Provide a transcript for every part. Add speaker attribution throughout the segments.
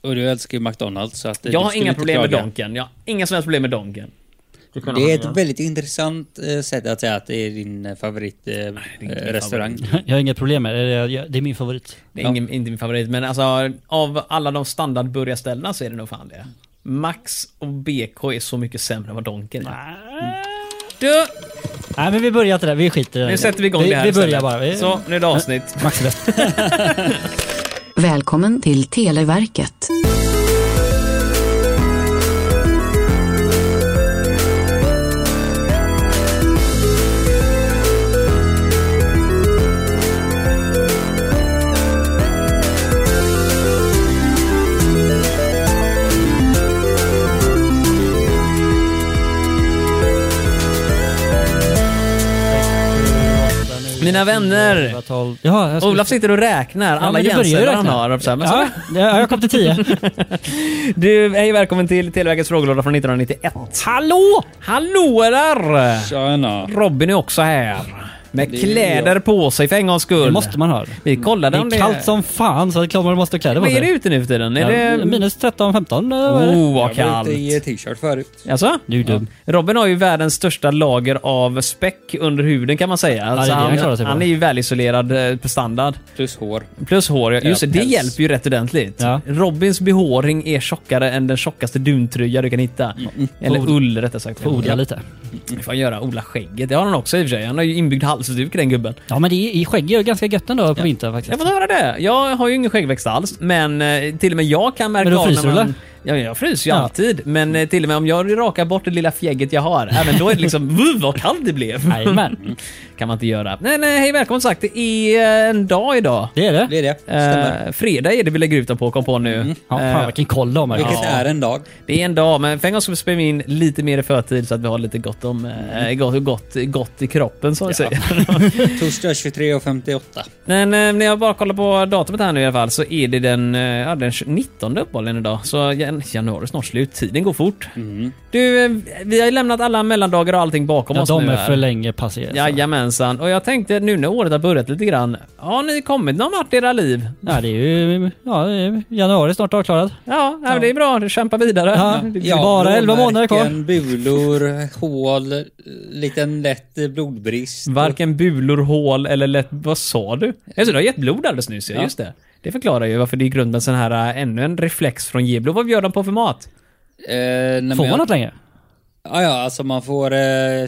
Speaker 1: Och du älskar ju McDonalds så att eh,
Speaker 2: Jag
Speaker 1: du
Speaker 2: har
Speaker 1: skulle
Speaker 2: inga
Speaker 1: inte
Speaker 2: problem med
Speaker 1: klaga.
Speaker 2: Donken. Jag har inga som helst problem med Donken.
Speaker 3: Det kan
Speaker 1: Det är ett
Speaker 3: han,
Speaker 1: väldigt intressant eh, sätt att säga att det är din favoritrestaurang.
Speaker 2: inte min
Speaker 1: Eh, restaurang.
Speaker 4: Jag har inga problem med det. Det är- Det är min favorit.
Speaker 2: Det är
Speaker 1: Ja.
Speaker 2: ingen, inte min favorit, men alltså av alla de standardburgarställena så är det nog fan det. Max och BK är så mycket sämre än vad Donken är. Du,
Speaker 4: Nej, men vi börjar inte där. Vi skiter i det.
Speaker 2: nu sätter vi igång det här
Speaker 4: Vi
Speaker 2: istället.
Speaker 4: börjar bara. Vi,
Speaker 2: Så, nu är det avsnitt.
Speaker 4: Max är bäst.
Speaker 5: Välkommen till Televerket.
Speaker 2: Mina vänner!
Speaker 4: Ja, jag ska-
Speaker 2: Olaf sitter och räknar
Speaker 4: Ja,
Speaker 2: alla
Speaker 4: men du börjar ju
Speaker 2: hjärnceller han
Speaker 4: räkna.
Speaker 2: har. och Så här, men så,
Speaker 4: Ja, ja, jag kom till tio.
Speaker 2: Du, hej välkommen till Televerkets frågelåda från 1991. Hallå! Hallå där!
Speaker 1: Tjena!
Speaker 2: Robin är också här. Med
Speaker 1: Det är
Speaker 2: kläder på sig för en gångs skull.
Speaker 4: Det måste man ha.
Speaker 2: Vi kollade
Speaker 4: Det
Speaker 2: om det...
Speaker 4: är kallt som fan så det är klart man måste ha kläder på
Speaker 2: Vad är det
Speaker 4: sig.
Speaker 2: ute nu för tiden?
Speaker 4: Ja,
Speaker 2: Är det...
Speaker 4: Minus eh, 13-15.
Speaker 2: Oh, vad
Speaker 1: Jag var
Speaker 2: kallt.
Speaker 1: ute i eh, t-shirt förut.
Speaker 2: Alltså?
Speaker 4: Du är dum.
Speaker 2: Robin har ju världens största lager av späck under huden kan man säga. Alltså,
Speaker 4: det är det han klarar
Speaker 2: han,
Speaker 4: sig
Speaker 2: han
Speaker 4: bra.
Speaker 2: är ju välisolerad eh, på standard.
Speaker 1: Plus hår.
Speaker 2: Plus hår, ja. just det.
Speaker 1: Ja,
Speaker 2: Det
Speaker 1: päls.
Speaker 2: hjälper ju rätt ordentligt.
Speaker 4: Ja.
Speaker 2: Robins behåring är tjockare än den tjockaste duntröja du kan hitta.
Speaker 4: Mm,
Speaker 2: Eller ull rättare sagt.
Speaker 4: Får odla
Speaker 2: Ja.
Speaker 4: lite.
Speaker 2: Det får han göra. Odla skägget. Det har han också i och för sig. Han har ju inbyggd halsduk den gubben.
Speaker 4: Ja men det är, i skägg är det ganska gött ändå på vintern faktiskt.
Speaker 2: Jag får höra det. Jag har ju ingen skäggväxt alls, men eh, till och med jag kan märka
Speaker 4: Men då
Speaker 2: av när
Speaker 4: fryser du,
Speaker 2: man...
Speaker 4: eller?
Speaker 2: Ja, jag fryser ju
Speaker 4: Ja.
Speaker 2: alltid. Men eh, till och med om jag rakar bort det lilla fjägget jag har, även då är det liksom "Vuh, vad kallt det blev.
Speaker 4: Jajamän.
Speaker 2: kan man inte göra. Nej, nej, hej välkommen som sagt. Det är eh, en dag idag.
Speaker 4: Det är det.
Speaker 1: Det är det. Stämmer.
Speaker 2: Eh, fredag är det vi lägger ut den på, kom på nu.
Speaker 4: Ja,
Speaker 2: Eh,
Speaker 4: fan vilken koll de har.
Speaker 1: Vilket
Speaker 4: Ja.
Speaker 1: är en dag.
Speaker 2: det är en dag, men för en gång ska vi spela in lite mer i förtid så att vi har lite gott, om, eh, gott, gott, gott i kroppen, så att säga.
Speaker 1: Torsdag 23.58.
Speaker 2: Men eh, när jag bara kollar på datumet här nu i alla fall så är det den, eh, ja, den 19 uppehållen idag. Så jan- januari är snart slut. Tiden går fort.
Speaker 1: Mm.
Speaker 2: Du, eh, vi har ju lämnat alla mellandagar och allting bakom
Speaker 4: Ja,
Speaker 2: oss
Speaker 4: de
Speaker 2: nu
Speaker 4: är
Speaker 2: här.
Speaker 4: för länge passerade.
Speaker 2: Jajamensan. Och jag tänkte nu när året har börjat lite grann. Har ni kommit någon vart i era liv?
Speaker 4: Ja, det är ju ja, det är januari snart avklarad.
Speaker 2: Ja, ja. men det är bra. Kämpa vidare.
Speaker 4: Ja.
Speaker 2: Det-
Speaker 4: Ja. bara elva månader kvar.
Speaker 1: blåmärken, bulor, hål, liten lätt eh, blodbrist.
Speaker 2: Varken bulor, hål eller lätt... Vad sa du? Alltså, du har gett blod alldeles nyss, ja.
Speaker 1: Ja.
Speaker 2: Just det. Det förklarar ju varför det är i grunden sån här, äh, ännu en reflex från Giblo. Vad gör de på för mat?
Speaker 1: Eh, nej,
Speaker 4: Får
Speaker 1: men
Speaker 4: man
Speaker 1: jag-
Speaker 4: något längre?
Speaker 1: Ja, ja, alltså man får eh,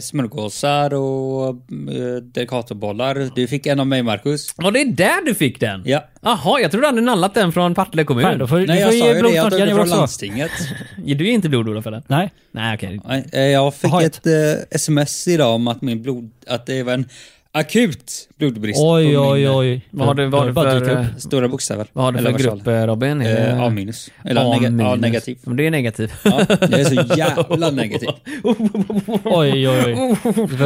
Speaker 1: smörgåsar och eh, Decatorbollar. Du fick en av mig, Marcus.
Speaker 2: Och det är där du fick den?
Speaker 1: Ja.
Speaker 2: Jaha, jag trodde du hade nallat den från Partille kommun.
Speaker 4: Fan, då får,
Speaker 1: Nej,
Speaker 4: du
Speaker 1: jag
Speaker 4: får
Speaker 1: sa ju
Speaker 4: ge
Speaker 1: det. Jag
Speaker 4: blodstart
Speaker 1: tog det
Speaker 4: Jenny
Speaker 1: från
Speaker 4: också.
Speaker 1: landstinget.
Speaker 2: Du är inte blod för den?
Speaker 4: Nej.
Speaker 2: Nej, okej.
Speaker 1: Nej, eh, Jag fick
Speaker 4: Jaha,
Speaker 1: ett eh, sms idag om att min blod... Att det var en akut blodbrist.
Speaker 4: Oj,
Speaker 1: på min,
Speaker 4: oj,
Speaker 1: eh,
Speaker 4: oj.
Speaker 2: Vad har du- vad har du
Speaker 4: Bara
Speaker 2: för,
Speaker 4: dyka upp.
Speaker 2: eh,
Speaker 1: Stora bokstäver.
Speaker 2: Vad har du
Speaker 1: Eller
Speaker 2: för
Speaker 1: versaler.
Speaker 2: grupp eh, Robin?
Speaker 1: Eh, A minus. Eller neg- ja,
Speaker 2: minus.
Speaker 1: negativ.
Speaker 2: Men det är negativ.
Speaker 1: Ja, det är så jävla negativt.
Speaker 4: Oj, oj, oj. Det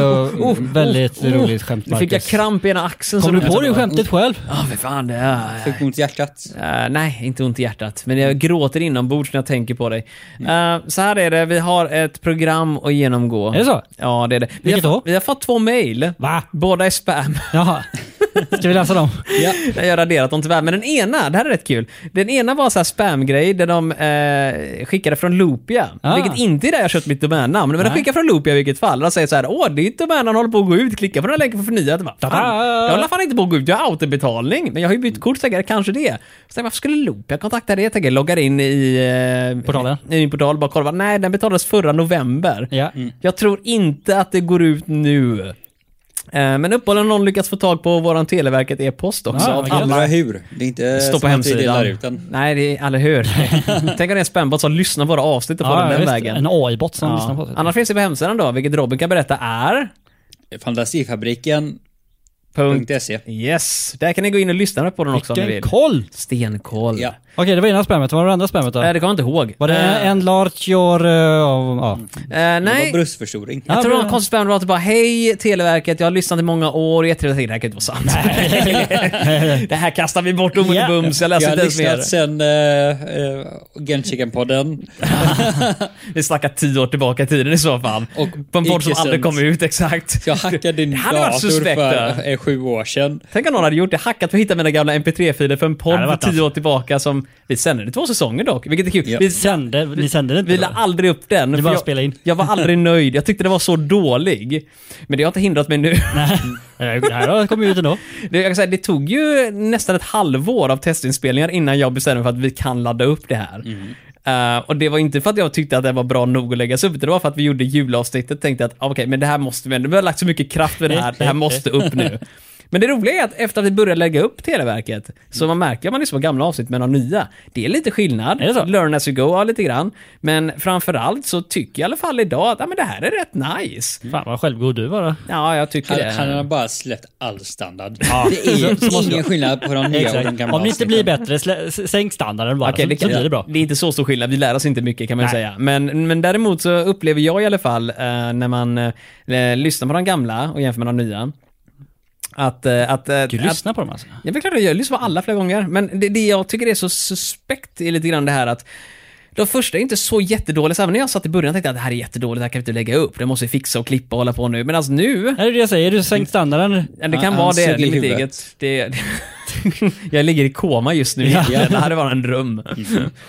Speaker 4: var väldigt roligt skämt
Speaker 2: Oh, Nu
Speaker 4: Marcus.
Speaker 2: fick jag kramp i ena axeln.
Speaker 4: Kom
Speaker 2: så
Speaker 4: du på det skämtet själv?
Speaker 2: Ja, för fan. Det är...
Speaker 1: Fick ont i hjärtat.
Speaker 2: Eh, nej, inte ont i hjärtat. Men jag gråter inombords när jag tänker på dig. Eh, så här är det, vi har ett program att genomgå.
Speaker 4: Mm. Är det så?
Speaker 2: Ja, det är det. Vi, har,
Speaker 4: Vilket då?
Speaker 2: vi har fått två mejl.
Speaker 4: Va?
Speaker 2: Båda är spam.
Speaker 4: Jaha. Ska vi läsa dem?
Speaker 2: Mm.
Speaker 1: Ja.
Speaker 2: Jag har raderat dem tyvärr, men den ena, det här är rätt kul. Den ena var så här spamgrej där de eh, skickade från Loopia,
Speaker 4: Ah.
Speaker 2: vilket inte är där jag köpt mitt domännamn, men de
Speaker 4: Nej.
Speaker 2: skickar från Loopia i vilket fall. De säger så här, åh ditt domännamn håller på att gå ut, klicka på den här länken för förnyat. Jag bara, fan,
Speaker 4: Ta-da!
Speaker 2: Jag håller fan inte på att gå ut, jag har autobetalning, men jag har ju bytt kort, tänker jag, kanske det. Så jag, varför skulle Loopia kontakta det? Jag tänker, loggar in i, eh,
Speaker 4: Portalen.
Speaker 2: i min portal, bara kollar, nej den betalades förra november.
Speaker 4: Ja.
Speaker 2: Jag tror inte att det går ut nu. Eh, Men uppenbarligen har någon lyckats få tag på våran Televerket e-post också.
Speaker 4: Ja,
Speaker 2: av
Speaker 4: vad gött.
Speaker 2: alla eh,
Speaker 1: Alla hur. Det är inte eh,
Speaker 2: Står på
Speaker 1: som att vi delar
Speaker 2: hemsidan.
Speaker 1: ut den.
Speaker 2: Nej, det är, eller hur? Tänk om det är en spambot som lyssnar på våra avsnitt och får
Speaker 4: Ja,
Speaker 2: den, den
Speaker 4: visst.
Speaker 2: vägen.
Speaker 4: En AI-bot som lyssnar på
Speaker 2: Ja.
Speaker 4: oss.
Speaker 2: Annars finns det på hemsidan då, vilket Robin kan berätta är...
Speaker 1: Fantasifabriken.se.
Speaker 2: Punkt. Yes, där kan ni gå in och lyssna på den också om ni
Speaker 4: Vilken
Speaker 2: vill.
Speaker 4: koll!
Speaker 2: Stenkoll.
Speaker 1: Ja.
Speaker 4: Okej, det var ena spammet. Vad var det andra spammet
Speaker 2: Nej,
Speaker 4: då?
Speaker 2: det kommer jag inte ihåg.
Speaker 4: Var det
Speaker 2: Eh,
Speaker 4: en large your... eh, Ja.
Speaker 2: eh,
Speaker 1: Det var
Speaker 2: nej,
Speaker 1: bröstförstoring.
Speaker 2: jag
Speaker 4: Ja,
Speaker 2: tror
Speaker 4: men-
Speaker 2: någon konstig spam var typ bara Hej Televerket, jag har lyssnat i många år och jättetrevligt. Jag tänkte, Det här kan inte vara sant. det här kastar vi bort
Speaker 4: Ja.
Speaker 2: omedelbums. Jag
Speaker 1: Jag
Speaker 2: läser
Speaker 1: har
Speaker 2: inte ens mer.
Speaker 1: lyssnat sen uh, Genchicken-podden.
Speaker 2: Vi snackar tio år tillbaka i tiden i så fall.
Speaker 1: Och
Speaker 2: på en podd som
Speaker 1: icke
Speaker 2: aldrig kom
Speaker 1: sänds.
Speaker 2: ut exakt.
Speaker 1: Jag hackade din
Speaker 2: Det hade varit
Speaker 1: dator
Speaker 2: suspekt,
Speaker 1: för
Speaker 2: då.
Speaker 1: eh, sju år sedan.
Speaker 2: Tänk om någon hade gjort det, hackat för att hitta mina gamla mp3-filer för en
Speaker 4: Ja,
Speaker 2: podd
Speaker 4: det
Speaker 2: för
Speaker 4: var
Speaker 2: tio
Speaker 4: taskigt.
Speaker 2: år tillbaka som... Vi sände det två säsonger dock, vilket är kul.
Speaker 1: Ja.
Speaker 2: Vi,
Speaker 4: Sände, ni sände det
Speaker 2: vi
Speaker 4: inte
Speaker 2: la
Speaker 4: då?
Speaker 2: aldrig upp den.
Speaker 4: Ni
Speaker 2: för
Speaker 4: bara
Speaker 2: jag,
Speaker 4: spelade in.
Speaker 2: jag var aldrig nöjd, jag tyckte det var så dålig. Men det har inte hindrat mig nu.
Speaker 4: Nej, det här har kommit ut ändå.
Speaker 2: Det, jag kan säga, det tog ju nästan ett halvår av testinspelningar innan jag bestämde mig för att vi kan ladda upp det här.
Speaker 4: Mm.
Speaker 2: Eh, och det var inte för att jag tyckte att det var bra nog att läggas upp, utan det var för att vi gjorde julavsnittet och tänkte att ah, okej, men det här måste vi ändå, vi har lagt så mycket kraft vid det här, det här måste upp nu. Men det roliga är att efter att vi började lägga upp Televerket, så man märker att man lyssnar på gamla avsnitt men har nya. Det är lite skillnad.
Speaker 4: Är det så?
Speaker 2: Learn as you go, ja, lite grann. Men framförallt så tycker jag i alla fall idag att ah, men det här är rätt nice.
Speaker 4: Fan vad självgod du var då.
Speaker 2: Ja, jag tycker
Speaker 1: Han,
Speaker 2: det.
Speaker 1: han har bara släppt all standard.
Speaker 4: Ja.
Speaker 1: Det är
Speaker 4: Så måste
Speaker 1: ingen
Speaker 4: jag-
Speaker 1: skillnad på de nya och de
Speaker 4: Exakt.
Speaker 1: gamla
Speaker 4: Om ni inte
Speaker 1: avsnitten.
Speaker 4: blir bättre, slä, s- sänk standarden bara
Speaker 2: Okej,
Speaker 4: så, så blir det bra.
Speaker 2: Det är inte Alltså, så stor skillnad, vi lär oss inte mycket kan man ju
Speaker 4: Nej.
Speaker 2: säga. Men, men däremot så upplever jag i alla fall eh, när man eh, lyssnar på de gamla och jämför med de nya. Att, eh, att, eh,
Speaker 4: Du
Speaker 2: att
Speaker 4: lyssnar på dem alltså?
Speaker 2: Ja, det är klart jag gör. Jag lyssnar på alla flera gånger. Men det, det jag tycker är så suspekt är lite grann det här att de första är inte så jättedåliga. Så även när jag satt i början tänkte jag att det här är jättedåligt, det här kan vi inte lägga upp. Det måste vi fixa och klippa och hålla på nu. Men alltså nu,
Speaker 4: Är det det jag säger? Du sänkt standarden?
Speaker 2: ja, det
Speaker 1: Han-
Speaker 2: kan
Speaker 1: han
Speaker 2: vara det.
Speaker 1: suger
Speaker 2: Det är
Speaker 1: i
Speaker 2: mitt
Speaker 1: huvudet.
Speaker 2: eget. Det, det, jag ligger i koma just nu egentligen. Det hade varit en dröm.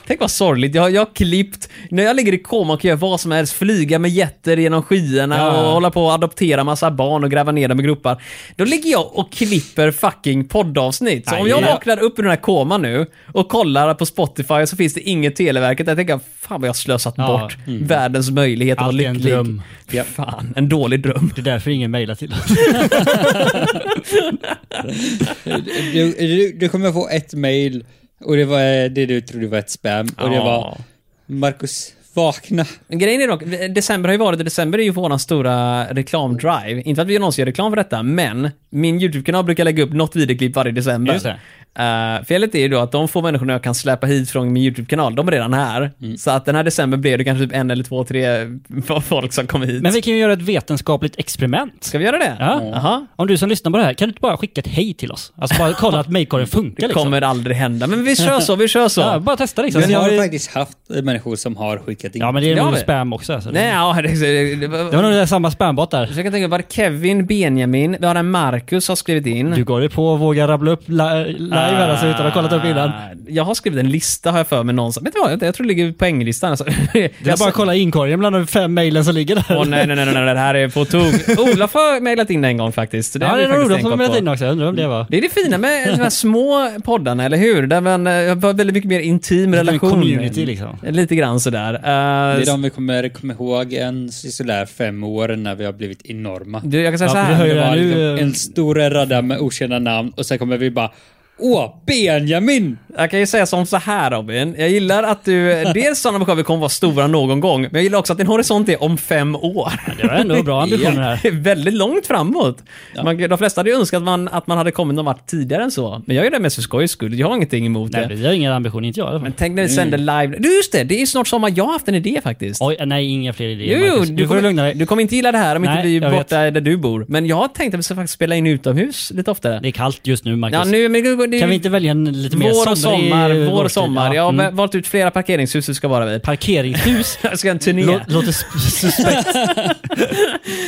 Speaker 2: Tänk vad sorgligt. Jag, jag har klippt, när jag ligger i koma och gör vad som helst, flyga med jätter genom skyarna
Speaker 4: Ja.
Speaker 2: och hålla på och adoptera massa barn och gräva ner dem i gropar. Då ligger jag och klipper fucking poddavsnitt. Så om
Speaker 4: Aj,
Speaker 2: jag
Speaker 4: ja.
Speaker 2: vaknar upp ur den här koman nu och kollar på Spotify så finns det inget Televerket. Jag tänker, fan vad jag har slösat
Speaker 4: Ja.
Speaker 2: bort världens möjlighet att vara
Speaker 4: Allt är en
Speaker 2: lycklig.
Speaker 4: dröm.
Speaker 1: Ja.
Speaker 2: Fan, en dålig dröm.
Speaker 4: Det är därför ingen mejlar till oss.
Speaker 1: Du, du, du kommer få ett mail och det var eh, det du trodde var ett spam. Och det
Speaker 2: Ja.
Speaker 1: var Marcus, vakna.
Speaker 2: Men Grejen är dock, december har ju varit, och december är ju våran stora reklamdrive. Inte att vi någonsin gör reklam för detta, men min YouTube-kanal brukar lägga upp något videoklipp varje december.
Speaker 4: Just det.
Speaker 2: Eh, felet är ju då att de få människorna jag kan släppa hit från min YouTube-kanal, de är redan här.
Speaker 4: Mm.
Speaker 2: Så att den här december blev det kanske typ en eller två, tre folk som kom hit.
Speaker 4: Men vi kan ju göra ett vetenskapligt experiment.
Speaker 2: Ska vi göra det?
Speaker 4: Ja.
Speaker 2: Jaha.
Speaker 4: Om du som lyssnar på det här, kan du inte bara skicka ett hej till oss? Alltså bara kolla att mejlkorgen funkar
Speaker 2: Det
Speaker 4: liksom.
Speaker 2: kommer aldrig hända, men vi kör så, vi kör så.
Speaker 4: Ja, bara testa liksom.
Speaker 1: Jag
Speaker 4: Ja,
Speaker 1: har
Speaker 4: det-
Speaker 1: faktiskt haft eh, människor som har skickat in.
Speaker 4: Ja men det
Speaker 2: Det
Speaker 4: är
Speaker 2: har
Speaker 4: nog
Speaker 2: vi.
Speaker 4: spam också. Alltså.
Speaker 2: Nej, ja, det, det, det,
Speaker 4: Det var nog det där samma spambot där.
Speaker 2: Så jag kan tänka, var det Kevin, Benjamin, vi har en Marcus har skrivit in.
Speaker 4: Du går ju på och vågar rabbla upp li- live här alltså utan att ha kollat upp innan.
Speaker 2: Ah, Jag har skrivit en lista har jag för mig någonstans. Vet du vad? Jag, jag tror det ligger på poänglistan. Alltså. Jag
Speaker 4: Det är bara att
Speaker 2: sa-
Speaker 4: kolla inkorgen bland de fem mejlen som ligger där.
Speaker 2: Åh nej, nej, nej, nej, det här är på tok. Olaf har mejlat in en gång faktiskt.
Speaker 4: ja,
Speaker 2: hade
Speaker 4: det
Speaker 2: jag
Speaker 4: är nog
Speaker 2: faktiskt
Speaker 4: Olof
Speaker 2: tänkt
Speaker 4: som har
Speaker 2: på.
Speaker 4: mejlat in också. Jag undrar om det var...
Speaker 2: Det är det fina med de här små poddarna, eller hur? Där man eh, har väldigt mycket mer intim
Speaker 4: Det är en
Speaker 2: relation.
Speaker 4: community, liksom.
Speaker 2: Lite grann sådär. Eh,
Speaker 1: Det är de vi kommer komma ihåg en sådär fem år när vi har blivit enorma.
Speaker 2: du, jag kan säga
Speaker 4: Ja,
Speaker 2: så
Speaker 4: du hör
Speaker 2: här.
Speaker 4: ju-
Speaker 1: Det var
Speaker 4: nu,
Speaker 1: liksom
Speaker 4: eh,
Speaker 1: en stor radda med okända namn och sen kommer vi bara Åh, Benjamin!
Speaker 2: Jag kan ju säga som så här Robin. Jag gillar att du, eh, dels sådana människor vi kommer vara stora någon gång, men jag gillar också att din horisont är om fem år.
Speaker 4: Det var ändå bra ambitioner här.
Speaker 2: Det är väldigt långt framåt. Man, de flesta hade ju önskat att man, att man hade kommit någon vart tidigare än så. Men jag gör det mest för skojs skull. Jag har ingenting emot
Speaker 4: Nej,
Speaker 2: det.
Speaker 4: vi har ingen ambition, inte jag i alla fall.
Speaker 2: Men tänk när ni sänder live. Du just det, det är snart sommar. Jag har haft en idé faktiskt.
Speaker 4: Oj, nej, inga fler idéer
Speaker 2: Jo, jo,
Speaker 4: Marcus. Du får
Speaker 2: kommer,
Speaker 4: lugna dig.
Speaker 2: du kommer inte gilla det här om
Speaker 4: Nej,
Speaker 2: inte vi
Speaker 4: jag
Speaker 2: är
Speaker 4: vet.
Speaker 2: borta där du bor. Men jag har tänkt att vi ska faktiskt spela in utomhus lite oftare.
Speaker 4: Det är kallt just nu Marcus.
Speaker 2: Ja, nu, men, det, det,
Speaker 4: Kan vi inte välja en lite mer
Speaker 2: Vår och
Speaker 4: somrig
Speaker 2: sommar, vår och
Speaker 4: årstid?
Speaker 2: sommar.
Speaker 4: Ja,
Speaker 2: Jag har
Speaker 4: mm.
Speaker 2: valt ut flera parkeringshus vi ska vara vid.
Speaker 4: Parkeringshus.
Speaker 2: Jag ska ha en turné.
Speaker 4: Lå- Låter sp- suspekt.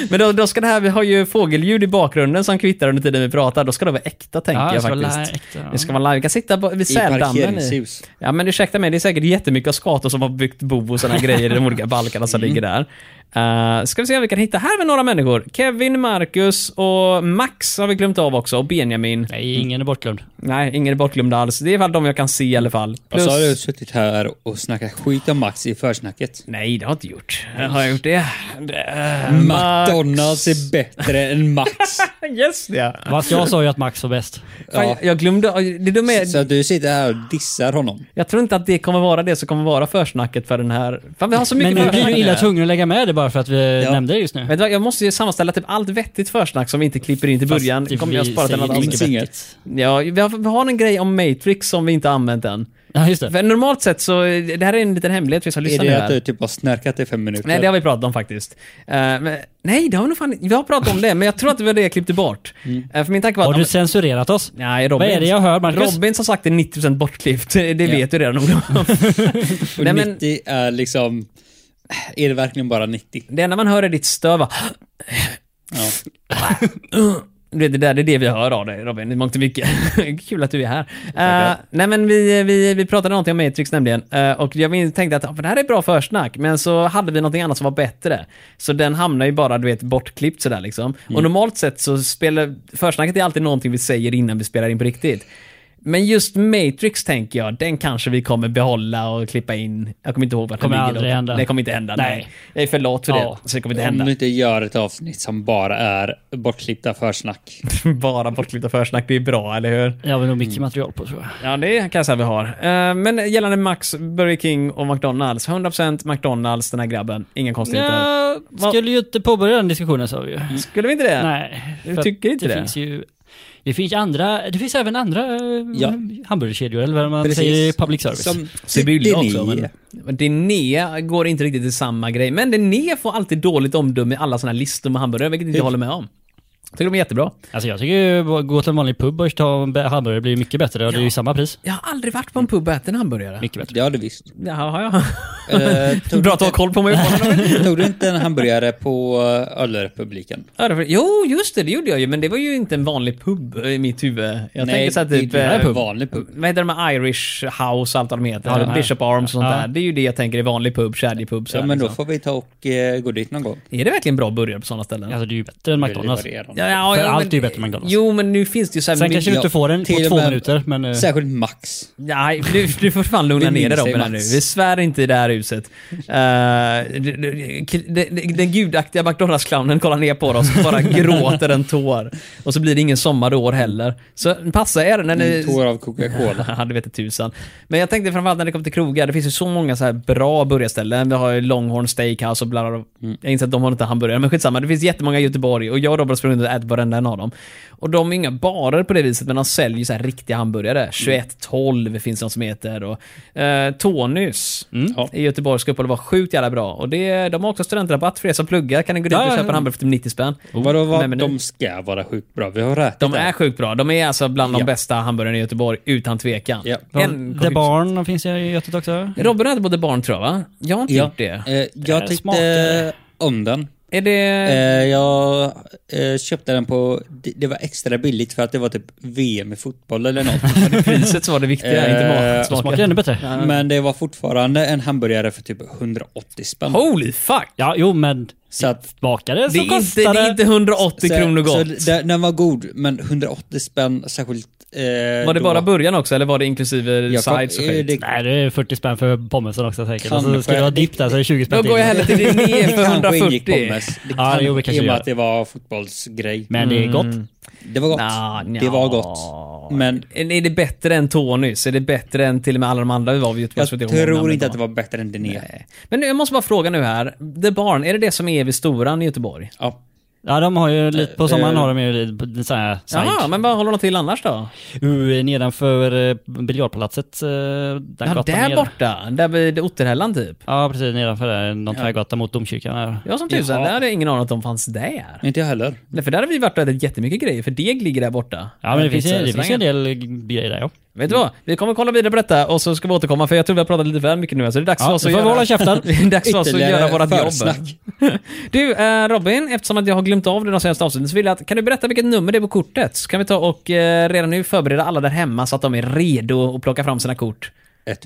Speaker 2: Men då, då ska det här, vi har ju fågelljud i bakgrunden som kvittar under tiden vi pratar. Då ska det vara äkta tänker
Speaker 4: Ja, det
Speaker 2: jag
Speaker 4: ska vara
Speaker 2: faktiskt.
Speaker 4: äkta, ja.
Speaker 2: Det ska vara live. Vi kan sitta på- vid
Speaker 1: I
Speaker 2: säldammen. I
Speaker 1: parkeringshus.
Speaker 2: ja men ursäkta mig, det är säkert jättemycket skator som har byggt bo och sådana grejer i de olika balkarna
Speaker 4: Mm.
Speaker 2: som ligger där. Uh, ska vi se om vi kan hitta här med några människor. Kevin, Marcus och Max har vi glömt av också. Och Benjamin.
Speaker 4: Nej, ingen är bortglömd.
Speaker 2: Nej, ingen är bortglömd alls. Det är väl de jag kan se i alla fall.
Speaker 1: Och så har du
Speaker 2: Plus...
Speaker 1: suttit här och snackat skit om Max i försnacket.
Speaker 2: Nej, det har jag inte gjort. Har jag gjort det? Eh, det...
Speaker 1: McDonalds är bättre än Max.
Speaker 2: Yes, ja.
Speaker 4: Fast jag sa ju att Max var bäst.
Speaker 2: Fan, jag- Jag glömde... Det är de är...
Speaker 1: Så du sitter här och dissar honom.
Speaker 2: Jag tror inte att det kommer vara det som kommer vara försnacket för den här... Fan, vi har så
Speaker 4: Men
Speaker 2: mycket
Speaker 4: nu blir
Speaker 2: försnack
Speaker 4: du
Speaker 2: nu.
Speaker 4: illa tvungen att lägga med det bara för att vi
Speaker 1: Ja.
Speaker 4: nämnde det just nu.
Speaker 2: Vet du vad, jag måste ju sammanställa typ allt vettigt försnack som vi inte klipper in till
Speaker 4: Fast
Speaker 2: början.
Speaker 4: det
Speaker 2: kommer jag
Speaker 4: blir-
Speaker 2: spara till
Speaker 4: säger
Speaker 2: något
Speaker 4: inte
Speaker 2: annat.
Speaker 1: Finns inget.
Speaker 4: vettigt.
Speaker 2: Ja, vi har, vi har en grej om Matrix som vi inte har använt än.
Speaker 4: Ja, just det.
Speaker 2: För normalt sett så, det här är en liten hemlighet vi ska
Speaker 1: Är
Speaker 2: lyssna nu
Speaker 1: det att du
Speaker 2: här.
Speaker 1: typ har snarkat i fem minuter?
Speaker 2: Nej, det har vi pratat om faktiskt. Eh, men, nej, det har vi nog fan Vi har pratat om det, men jag tror att det var det jag klippte bort. Eh, för min tanke var
Speaker 4: Mm. Har
Speaker 2: att...
Speaker 4: du censurerat oss?
Speaker 2: Nej, Robin.
Speaker 4: Vad är det jag hör, Marcus?
Speaker 2: Robin som sagt är 90% bortklippt. Det vet du redan, Olof.
Speaker 1: och
Speaker 2: nej, men-
Speaker 1: 90 är liksom... Är det verkligen bara 90?
Speaker 2: Det enda man hör är ditt stöva.
Speaker 1: Ja.
Speaker 2: Du vet, Det där det är det vi hör av dig Robin, i mångt och mycket. Kul att du är här. Eh, nej men vi, vi, vi pratade någonting om Matrix nämligen Eh, och jag min- tänkte att ah, men det här är bra försnack men så hade vi någonting annat som var bättre. Så den hamnar ju bara du vet bortklippt sådär liksom.
Speaker 4: Mm.
Speaker 2: Och normalt sett så spelar försnacket är alltid någonting vi säger innan vi spelar in på riktigt. Men just Matrix tänker jag, den kanske vi kommer behålla och klippa in. Jag kommer inte ihåg vart
Speaker 4: Kommer
Speaker 2: den ligger.
Speaker 4: aldrig
Speaker 2: dock.
Speaker 4: hända.
Speaker 2: Det kommer inte hända. Nej.
Speaker 4: Nej.
Speaker 2: Jag är för lat för
Speaker 4: Ja. Mm.
Speaker 2: det. Så det kommer inte
Speaker 1: Om
Speaker 2: hända.
Speaker 1: du inte gör ett avsnitt som bara är bortklippta försnack.
Speaker 2: Bara bortklippta försnack, det är bra, eller hur?
Speaker 4: Jag har nog mycket material på tror jag.
Speaker 2: Ja, det kan jag säga vi har. Eh, Men gällande Max, Burger King och McDonalds. 100% McDonalds, den här grabben. Inga konstigheter.
Speaker 4: Jag skulle ju inte påbörja den diskussionen sa vi ju.
Speaker 2: Skulle vi inte det?
Speaker 4: Nej.
Speaker 2: Du
Speaker 4: för
Speaker 2: tycker
Speaker 4: att
Speaker 2: inte det?
Speaker 4: Finns ju, det finns andra, det finns även andra eh,
Speaker 1: Ja.
Speaker 4: hamburgerkedjor eller vad man säger i public service.
Speaker 1: Som
Speaker 2: Sibylla också.
Speaker 1: Sidney.
Speaker 2: Men men Diné går inte riktigt till samma grej. Men Diné får alltid dåligt omdöme i alla såna här listor med hamburgare, vilket inte jag håller med om. Jag tycker de är jättebra.
Speaker 4: Alltså jag tycker ju bara gå till en vanlig pub och ta en be- hamburgare blir mycket bättre och det är ju samma pris.
Speaker 2: Jag har aldrig varit på en pub och ätit en hamburgare.
Speaker 4: Mycket bättre.
Speaker 1: Det har du visst.
Speaker 2: Ja, har jag.
Speaker 1: Eh, tog,
Speaker 2: Bra att ha koll på mig.
Speaker 1: tog du inte en hamburgare på eh, Ölrepubliken?
Speaker 2: Ja, det var- Jo, just det, det gjorde jag ju. Men det var ju inte en vanlig pub i mitt huvud. Jag tänker så här typ...
Speaker 1: det är
Speaker 2: eh,
Speaker 1: en vanlig pub.
Speaker 2: Vad heter de här Irish House och allt vad de heter?
Speaker 4: Ja, de här.
Speaker 2: Bishop Arms och sånt
Speaker 4: Ja.
Speaker 2: där. Det är ju det jag tänker i vanlig pub, kedjepub.
Speaker 1: Ja,
Speaker 2: sådär
Speaker 1: men då
Speaker 2: liksom.
Speaker 1: får vi ta och eh, gå dit någon gång.
Speaker 2: Är det verkligen bra burgare på sådana ställen?
Speaker 4: Alltså det är ju bättre än McDonalds.
Speaker 1: Det varierar.
Speaker 4: För
Speaker 2: men-
Speaker 4: allt är ju bättre än McDonald's.
Speaker 2: Jo, men nu finns det ju så här...
Speaker 4: Sen
Speaker 2: min-
Speaker 4: kanske du inte
Speaker 1: Ja,
Speaker 4: får den på
Speaker 1: till och
Speaker 4: två
Speaker 1: med-
Speaker 4: minuter men... eh,
Speaker 1: Särskilt Max.
Speaker 2: Nej, du, du får fan lugna
Speaker 1: Vi
Speaker 2: ner dig
Speaker 1: minns dig,
Speaker 2: Robin här nu.
Speaker 1: Mats.
Speaker 2: Vi svär inte i det här huset. Eh, d- d- k- d- d- den gudaktiga McDonalds-clownen kollar ner på oss och bara gråter en tår. Och så blir det ingen sommar i år heller. Så passa er
Speaker 4: Eh,
Speaker 2: när ni...
Speaker 1: En tår av Coca-Cola.
Speaker 2: Ja, det vet inte tusan. Men jag tänkte framförallt när det kommer till krogar, det finns ju så många så här bra burgarställen. Vi har ju Longhorn Steakhouse och bla bla bla.
Speaker 4: Mm.
Speaker 2: Jag inser att de har inte hamburgare, men skitsamma. Det finns jättemånga i Göteborg och jag och Robert har sprungit och ätit varenda en av dem. Och de är inga barer på det viset, men de säljer ju så här riktiga
Speaker 4: Mm.
Speaker 2: hamburgare. 2112 finns det något som heter. Och, eh, Tonys
Speaker 4: Mm.
Speaker 1: Ja.
Speaker 2: i Göteborg ska upp och det var sjukt jävla bra. Och det, de har också studentrabatt för er som pluggar. Kan ni gå dit och
Speaker 4: Ja, Oh, ja,
Speaker 2: köpa en
Speaker 4: ja.
Speaker 2: hamburgare för typ 90 spänn?
Speaker 1: Vadå,
Speaker 2: Nej,
Speaker 1: vad,
Speaker 2: men nu-
Speaker 1: de ska vara sjukt bra. Vi har rätt
Speaker 2: De är sjukt bra. De är alltså bland de bästa hamburgarna i Göteborg, utan tvekan.
Speaker 1: Ja.
Speaker 2: En-
Speaker 4: The Barn finns ju i Götet också.
Speaker 2: Robin har ätit både barn tror jag va? Jag har inte gjort det. eh.
Speaker 1: Eh, jag
Speaker 4: Eh,
Speaker 1: tyckte
Speaker 4: smakar.
Speaker 1: om den.
Speaker 2: Är det...
Speaker 1: Eh, jag eh, köpte den på... Det, det var extra billigt för att det var typ VM i fotboll eller något.
Speaker 2: priset som var det viktiga,
Speaker 1: eh,
Speaker 2: inte maten.
Speaker 4: Det smakar ännu bättre.
Speaker 1: men det var fortfarande en hamburgare för typ 180 spänn.
Speaker 2: Holy fuck!
Speaker 4: Ja, jo men
Speaker 1: Så att
Speaker 4: bakare
Speaker 2: Det
Speaker 4: så
Speaker 2: är, inte, det
Speaker 4: kostar
Speaker 2: är inte 180
Speaker 1: Så-
Speaker 2: kronor
Speaker 1: så
Speaker 2: gott.
Speaker 1: det- den var god, men 180 spänn särskilt... Eh,
Speaker 2: Var det
Speaker 1: då.
Speaker 2: bara burgaren också eller var det inklusive
Speaker 1: Jag kom-
Speaker 2: sides och
Speaker 1: eh,
Speaker 2: skit?
Speaker 1: det-
Speaker 4: Nej, det är 40 spänn för pommesen också säkert.
Speaker 1: Kan
Speaker 4: Och så ska
Speaker 1: för-
Speaker 4: det vara dipp där så är det 20 spänn
Speaker 2: Då går jag hellre till Linné för
Speaker 1: kanske ingick
Speaker 2: 140.
Speaker 1: pommes. Det
Speaker 4: Ja, jo, det
Speaker 1: kan,
Speaker 4: kanske
Speaker 1: I och
Speaker 4: gör.
Speaker 1: med att det var fotbollsgrej. Mm.
Speaker 4: Men det är gott.
Speaker 1: Det var gott.
Speaker 2: Nja, nja.
Speaker 1: Det var gott. Men
Speaker 2: Är det bättre än Tonys? Är det bättre än till och med alla de andra vi var vid
Speaker 1: jag
Speaker 2: Göteborgs
Speaker 1: tror inte att det var bättre än Diné.
Speaker 2: Men nu, jag måste bara fråga nu här. The Barn, är det det som är vid Storan i Göteborg?
Speaker 1: Ja.
Speaker 4: Ja, de har ju lite på sommaren
Speaker 1: eh,
Speaker 4: har de ju lite sån här side.
Speaker 2: Ja, men vad håller de till annars då?
Speaker 4: Uh, nedanför eh, biljardpalatset. eh, Där
Speaker 2: Ja,
Speaker 4: gatan
Speaker 2: där
Speaker 4: nere.
Speaker 2: borta. Där vid Otterhällan typ.
Speaker 4: Ja, precis nedanför där. Någon tvärgata mot domkyrkan. Här.
Speaker 2: Ja, som tusan.
Speaker 1: Jaha.
Speaker 2: Det hade jag ingen aning om att de fanns där.
Speaker 1: Inte jag heller.
Speaker 2: Nej, för där har vi varit och ätit jättemycket grejer, för deg ligger där borta.
Speaker 4: Ja, men det finns, ju, det
Speaker 2: Pizzarestaurangen.
Speaker 4: finns ju en del grejer där ja.
Speaker 2: Vet du vad? Vi kommer kolla vidare på detta och så ska vi återkomma, för jag tror vi har pratat lite väl mycket nu, så det är dags
Speaker 4: Ja,
Speaker 2: för oss
Speaker 4: nu
Speaker 2: att
Speaker 4: får vi
Speaker 2: göra...
Speaker 4: hålla käften.
Speaker 2: det är dags för oss att
Speaker 1: Ytterligare
Speaker 2: göra vårat
Speaker 1: försnack.
Speaker 2: jobb. Du, eh, Robin, eftersom att jag har glömt av det de senaste avsnitten, så vill jag att, kan du berätta vilket nummer det är på kortet? Så kan vi ta och eh, redan nu förbereda alla där hemma så att de är redo att plocka fram sina kort.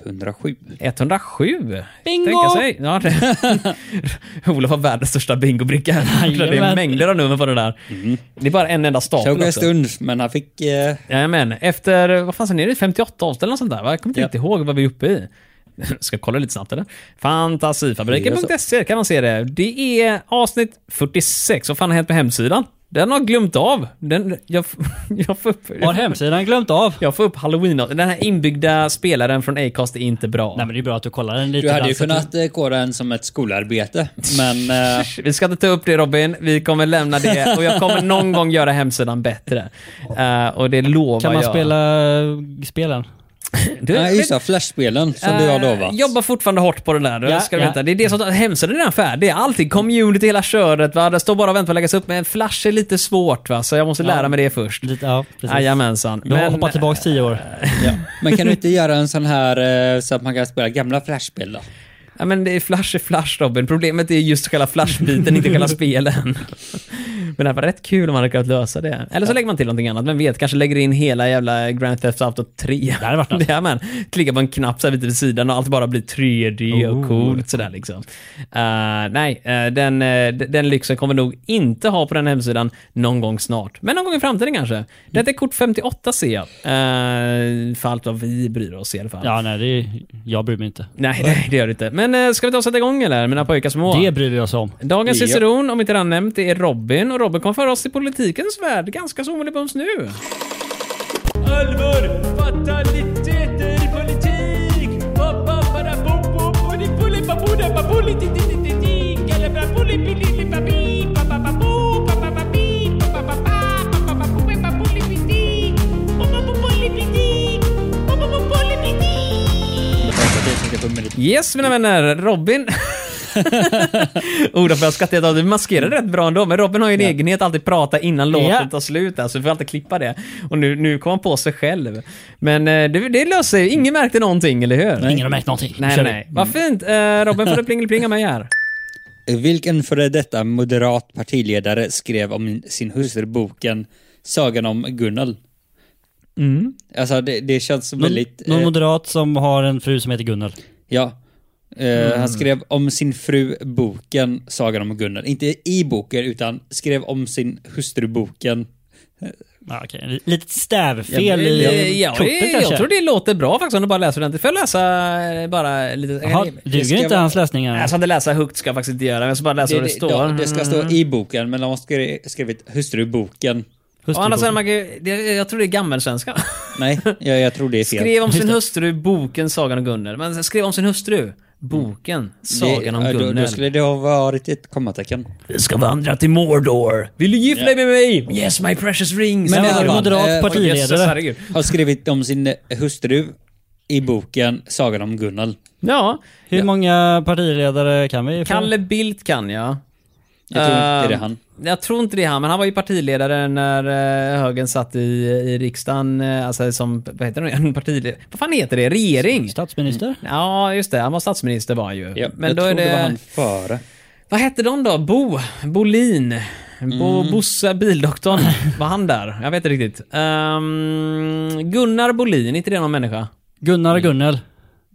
Speaker 1: 107.
Speaker 2: 107. Bingo! Tänka sig. Ja, det. Olof har världens största bingobricka. Det är
Speaker 4: Jajamän.
Speaker 2: mängder av nummer på den där. Det är bara en enda stapel
Speaker 1: Tog en
Speaker 2: också.
Speaker 1: stund, men han fick... Eh,
Speaker 2: Jajamän, efter, vad fan sen är det, 58 avsnitt eller något sånt där va? Jag kommer inte
Speaker 1: Ja.
Speaker 2: riktigt ihåg vad vi är uppe i. Ska kolla lite snabbt eller? Fantasifabriken.se kan man se det. Det är avsnitt 46. Vad fan har hänt med hemsidan? Den har glömt av. Den, jag, jag får upp...
Speaker 4: Har hemsidan glömt av?
Speaker 2: Jag får upp halloween Den här inbyggda spelaren från Acast är inte bra.
Speaker 4: Nej men det är bra att du kollar den lite.
Speaker 1: du hade
Speaker 4: grann
Speaker 1: ju
Speaker 4: så att
Speaker 1: kunnat eh, kåra en som ett skolarbete, men... Eh,
Speaker 2: Vi ska inte ta upp det Robin, vi kommer lämna det och jag kommer någon gång göra hemsidan bättre. Eh, och det lovar
Speaker 4: Kan man
Speaker 2: jag.
Speaker 4: spela eh, spelen?
Speaker 2: Du,
Speaker 1: nej, just det. Flashspelen som du har
Speaker 2: Eh,
Speaker 1: lovat.
Speaker 2: Jobbar fortfarande hårt på det där.
Speaker 4: Ja,
Speaker 2: ska
Speaker 4: ja.
Speaker 2: vänta. Det är det som, hemsidan är redan färdig. Allting, community, hela köret. Va? Det står bara och väntar på att läggas upp. Men Flash är lite svårt va, så jag måste lära mig det först.
Speaker 4: Lite, ja, precis.
Speaker 2: Jajamensan.
Speaker 4: Du har hoppat tillbaka tio år.
Speaker 1: Ja. Men kan du inte göra en sån här eh, så att man kan spela gamla flashspel då?
Speaker 2: Ja men det är flash är flash Robin. Problemet är just själva flashbiten, inte själva spelen. Men det hade varit rätt kul om man hade kunnat lösa det. Eller så lägger man till någonting annat, vem vet? Kanske lägger in hela jävla Grand Theft Auto 3.
Speaker 3: Det hade varit något.
Speaker 2: Ja, men. Klicka på en knapp så här lite vid typ sidan och allt bara blir 3D och
Speaker 3: Oh.
Speaker 2: coolt sådär liksom. Eh, nej, eh, den, eh, d- den lyxen kommer vi nog inte ha på den hemsidan någon gång snart. Men någon gång i framtiden kanske. Detta är kort 58 ser jag. Eh, för allt vad vi bryr oss i alla fall.
Speaker 3: Ja, nej, det är, jag bryr mig inte.
Speaker 2: Nej, nej, det gör det inte. Men eh, ska vi ta och sätta igång eller? Mina pojkar små.
Speaker 3: Det bryr vi oss om.
Speaker 2: Dagens
Speaker 1: Ja.
Speaker 2: ciceron, om inte redan nämnt, det är Robin. Och Robin kommer föra oss till politikens värld ganska så omedelbums nu.
Speaker 6: Allvar, fataliteter, politik Hoppa, bara bom, bom, poli, poli, babuda, babuli, ti, ti, ti, ti, ti Kalla, babuli, pili, li, babi, ba, ba, babu, ba, ba, babi, ba, ba, ba, ba, ba, ba, babu, ba, babuli, piti Bo, bo, bo, poli, piti Bo, bo, bo, poli, piti
Speaker 2: Yes, mina vänner. Robin... Olof, jag skrattar att du maskerar rätt bra ändå, men Robin har ju en egenhet att alltid prata innan låten
Speaker 3: Ja.
Speaker 2: tar slut, alltså, vi får alltid klippa det. Och nu, nu kom han på sig själv. Men eh, det, det löser sig, ingen märkte någonting, eller hur?
Speaker 3: Ingen har märkt någonting. Nu
Speaker 2: Nej,
Speaker 3: kör
Speaker 2: nej,
Speaker 3: vi.
Speaker 2: nej. Vad fint! Eh, Robin får du plingelplinga mig här.
Speaker 1: Vilken före detta moderat partiledare skrev om sin hustru boken Sagan om Gunnel? Alltså det, det känns
Speaker 3: Någon,
Speaker 1: väldigt...
Speaker 3: någon
Speaker 1: eh,
Speaker 3: moderat som har en fru som heter Gunnel.
Speaker 1: Ja. Eh,
Speaker 2: Mm.
Speaker 1: Han skrev om sin fru boken Sagan om Gunnel. Inte i boken, utan skrev om sin hustru boken.
Speaker 3: Ja, okay. Litet stävfel
Speaker 2: Ja, men,
Speaker 3: i
Speaker 2: Eh, ja,
Speaker 3: kortet
Speaker 2: det,
Speaker 3: kanske.
Speaker 2: Jag tror det låter bra faktiskt om du bara läser ordentligt. Får jag läsa eh, bara lite?
Speaker 3: Jaha,
Speaker 2: Nej,
Speaker 3: duger
Speaker 1: ska
Speaker 3: inte
Speaker 1: vara-
Speaker 3: hans läsningar?
Speaker 2: Jag ska inte läsa högt ska jag faktiskt inte göra, men jag ska bara läsa vad det står.
Speaker 1: ja, det ska stå i boken, men de har skri- skrivit hustru boken.
Speaker 2: Å andra sidan, man kan ju- det- jag tror det är gammelsvenska.
Speaker 1: Nej, jag, jag tror det är fel.
Speaker 2: Skrev om sin
Speaker 3: det.
Speaker 2: hustru, boken, Sagan om Gunnel. Men skrev om sin hustru, boken, Sagan om
Speaker 1: Mm. det, ja, då, då
Speaker 2: Gunnel.
Speaker 1: skulle det ha varit ett kommatecken.
Speaker 2: Vi ska vandra till Mordor. Vill du gifta dig med mig? Yes my precious rings.
Speaker 1: Men
Speaker 3: Men
Speaker 1: i alla
Speaker 3: är
Speaker 1: fall,
Speaker 3: moderat
Speaker 1: eh,
Speaker 2: Jesus,
Speaker 3: partiledare.
Speaker 2: herregud.
Speaker 1: Har skrivit om sin hustru i boken Sagan om Gunnel.
Speaker 2: Ja,
Speaker 3: Hur många partiledare kan vi få?
Speaker 2: Kalle Bildt kan jag.
Speaker 1: Jag tror
Speaker 2: Eh,
Speaker 1: inte det är han.
Speaker 2: Jag tror inte det är han, men han var ju partiledare när eh, högern satt i, i riksdagen, eh, alltså som, vad heter det, en partiledare, vad fan heter det, regering?
Speaker 3: Statsminister?
Speaker 2: Ja, just det, han var statsminister var han ju.
Speaker 1: Ja,
Speaker 2: men
Speaker 1: jag
Speaker 2: då är
Speaker 1: tror
Speaker 2: det,
Speaker 1: det... var han före.
Speaker 2: vad hette de då? Bo, Bolin, Bo,
Speaker 3: Mm.
Speaker 2: Bosse, bildoktorn, var han där? Jag vet inte riktigt. Ehm, Gunnar Bolin, är inte det någon människa?
Speaker 3: Gunnar
Speaker 2: Mm.
Speaker 3: och Gunnel.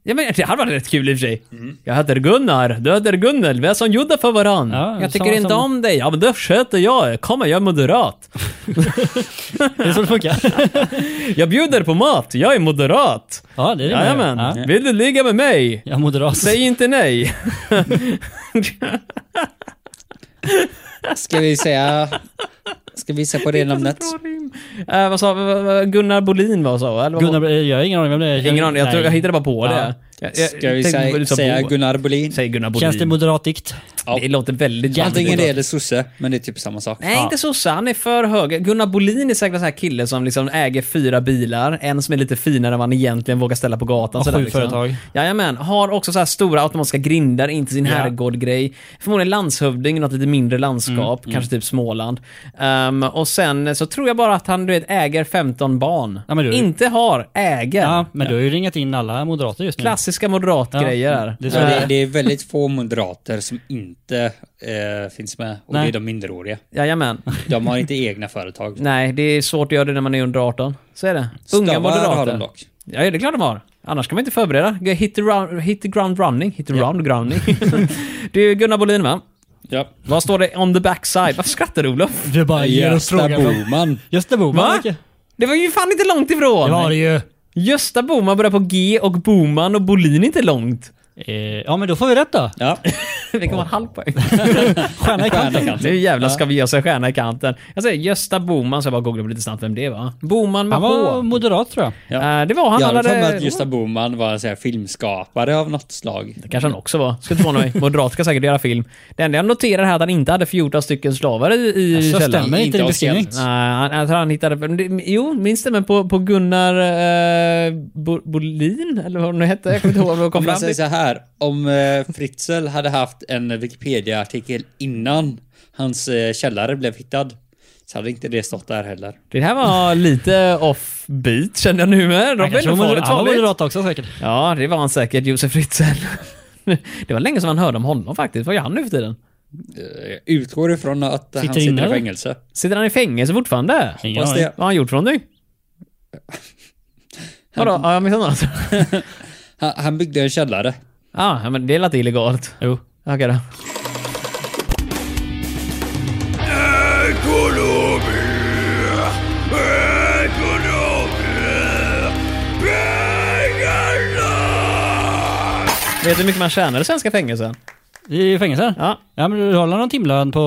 Speaker 2: Ja, men det hade varit rätt kul i och för sig.
Speaker 3: Mm.
Speaker 2: Jag heter Gunnar, du heter Gunnel, vi är som judar för varandra.
Speaker 3: Ja,
Speaker 2: jag tycker
Speaker 3: samma
Speaker 2: inte
Speaker 3: som-
Speaker 2: om dig, ja men då sköter jag, kom jag är moderat.
Speaker 3: Det är så det funkar.
Speaker 2: Jag bjuder på mat, jag är moderat.
Speaker 3: ja, det är det.
Speaker 2: Jajamän.
Speaker 3: Ja.
Speaker 2: Vill du ligga med mig?
Speaker 3: Jag är moderat.
Speaker 2: Säg inte nej.
Speaker 1: Ska vi säga... Ska vi se på det namnet?
Speaker 2: Eh, vad sa vad- vad- Gunnar Bolin vad sa eller vad-
Speaker 3: Gunnar, jag har ingen aning vem det är.
Speaker 2: Ingen aning, jag, tror, jag
Speaker 3: Nej.
Speaker 2: hittade bara på det. Jag, jag,
Speaker 1: Ska vi
Speaker 2: tänkte på-
Speaker 1: säga,
Speaker 2: du sa
Speaker 1: säga
Speaker 2: Bo.
Speaker 1: Gunnar Bolin?
Speaker 2: Säg Gunnar Bolin.
Speaker 3: Känns det moderat dikt?
Speaker 1: Ja.
Speaker 2: Det låter väldigt
Speaker 1: Antingen det
Speaker 2: jävligt.
Speaker 1: eller sosse, men det är typ samma sak.
Speaker 2: Nej, inte sosse. Han är för hög. Gunnar Bolin är säkert en sån här kille som liksom äger fyra bilar. En som är lite finare än vad han egentligen vågar ställa på gatan.
Speaker 3: Och
Speaker 2: sådär
Speaker 3: sju
Speaker 2: liksom.
Speaker 3: företag.
Speaker 2: Jajamän. Har också så här stora automatiska grindar in till sin herrgård-grej. Förmodligen landshövding i något lite mindre landskap.
Speaker 3: Mm,
Speaker 2: kanske typ Småland. Ehm, och sen så tror jag bara att han du vet, äger 15 barn.
Speaker 3: Ja, men du-
Speaker 2: Inte har, äger.
Speaker 3: Ja, men du har ju ringat in alla moderater just nu.
Speaker 2: Klassiska moderatgrejer Ehm,
Speaker 3: Ja,
Speaker 2: där.
Speaker 3: det är
Speaker 1: Så Eh, det, det är väldigt få moderater som inte eh, finns med, och det
Speaker 3: Nej.
Speaker 1: är de minderåriga.
Speaker 2: Jajamän.
Speaker 1: De har inte egna företag.
Speaker 2: Nej, det är svårt att göra det när man är under 18. Så är det. Unga
Speaker 1: Stavar
Speaker 2: moderater.
Speaker 1: har de dock.
Speaker 2: Ja, det är klart de har. Annars kan man inte förbereda. Hit the, round, hit the ground running. Hit the round grounding. du, Gunnar Bolin va?
Speaker 1: Ja.
Speaker 2: Vad står det on the backside? Varför skrattar du Olof?
Speaker 3: Du bara ger oss
Speaker 1: Gösta
Speaker 3: frågan.
Speaker 1: Boman.
Speaker 3: Gösta Bohman.
Speaker 2: Va?
Speaker 3: vilket-
Speaker 2: Det var ju fan inte långt ifrån!
Speaker 3: Det var det ju.
Speaker 2: Gösta Boman börjar på G och Boman och Bolin är inte långt.
Speaker 3: Eh, Ja, men då får vi rätt då.
Speaker 1: Ja.
Speaker 2: Vi kan vara en halv poäng.
Speaker 3: Stjärna i kanten.
Speaker 2: Nu jävlar ska vi ge oss en stjärna i kanten. Jag säger Gösta Boman, så jag bara googlar på lite snabbt vem det var. Boman med
Speaker 3: Han var
Speaker 2: H.
Speaker 3: moderat tror jag.
Speaker 2: Eh, det var han.
Speaker 1: Jag
Speaker 2: han
Speaker 1: hade för mig att
Speaker 2: hade...
Speaker 1: Gösta Boman var en sån här filmskapare av något slag.
Speaker 2: Det kanske han också var. Skulle inte förvåna mig. Moderat ska säkert göra film. Det enda jag noterar här är att han inte hade 14 stycken slavar i, i
Speaker 3: Så
Speaker 2: källaren.
Speaker 3: stämmer inte din
Speaker 1: Inte
Speaker 3: beskrivning.
Speaker 1: officiellt.
Speaker 2: Nej, han, jag tror han hittade... men det- Jo, minns det, men på, på Gunnar eh, Bo, Bolin, eller vad hon nu hette. Jag kommer inte ihåg vad det kom
Speaker 1: Om
Speaker 2: fram
Speaker 1: man säger
Speaker 2: till.
Speaker 1: så här, om eh, Fritzl hade haft en Wikipedia-artikel innan hans eh, källare blev hittad, så hade inte det stått där heller.
Speaker 2: Det här var lite offbeat kände jag nu
Speaker 3: Han
Speaker 2: med.
Speaker 3: kanske
Speaker 2: Robin,
Speaker 3: var
Speaker 2: farligt,
Speaker 3: moderat- han var
Speaker 2: farligt.
Speaker 3: moderat också säkert.
Speaker 2: Ja, det var han säkert, Josef Fritzl. det var länge som man hörde om honom faktiskt. Vad gör han nu för tiden?
Speaker 1: Eh, utgår ifrån att han
Speaker 4: Sitter
Speaker 1: sitter
Speaker 4: inne,
Speaker 1: i
Speaker 4: eller?
Speaker 1: fängelse.
Speaker 2: Sitter han i fängelse fortfarande?
Speaker 4: Ingen
Speaker 1: Fast
Speaker 4: aning.
Speaker 1: det,
Speaker 2: Vad har han gjort från dig? Vadå? Har jag missat något?
Speaker 1: han, han byggde en källare.
Speaker 2: Ah, ja, men det lät illegalt.
Speaker 4: Jo.
Speaker 2: Okej då. Vet du hur mycket man tjänar i svenska fängelser?
Speaker 4: I fängelsen?
Speaker 2: Ja.
Speaker 4: Ja, men du håller någon timlön på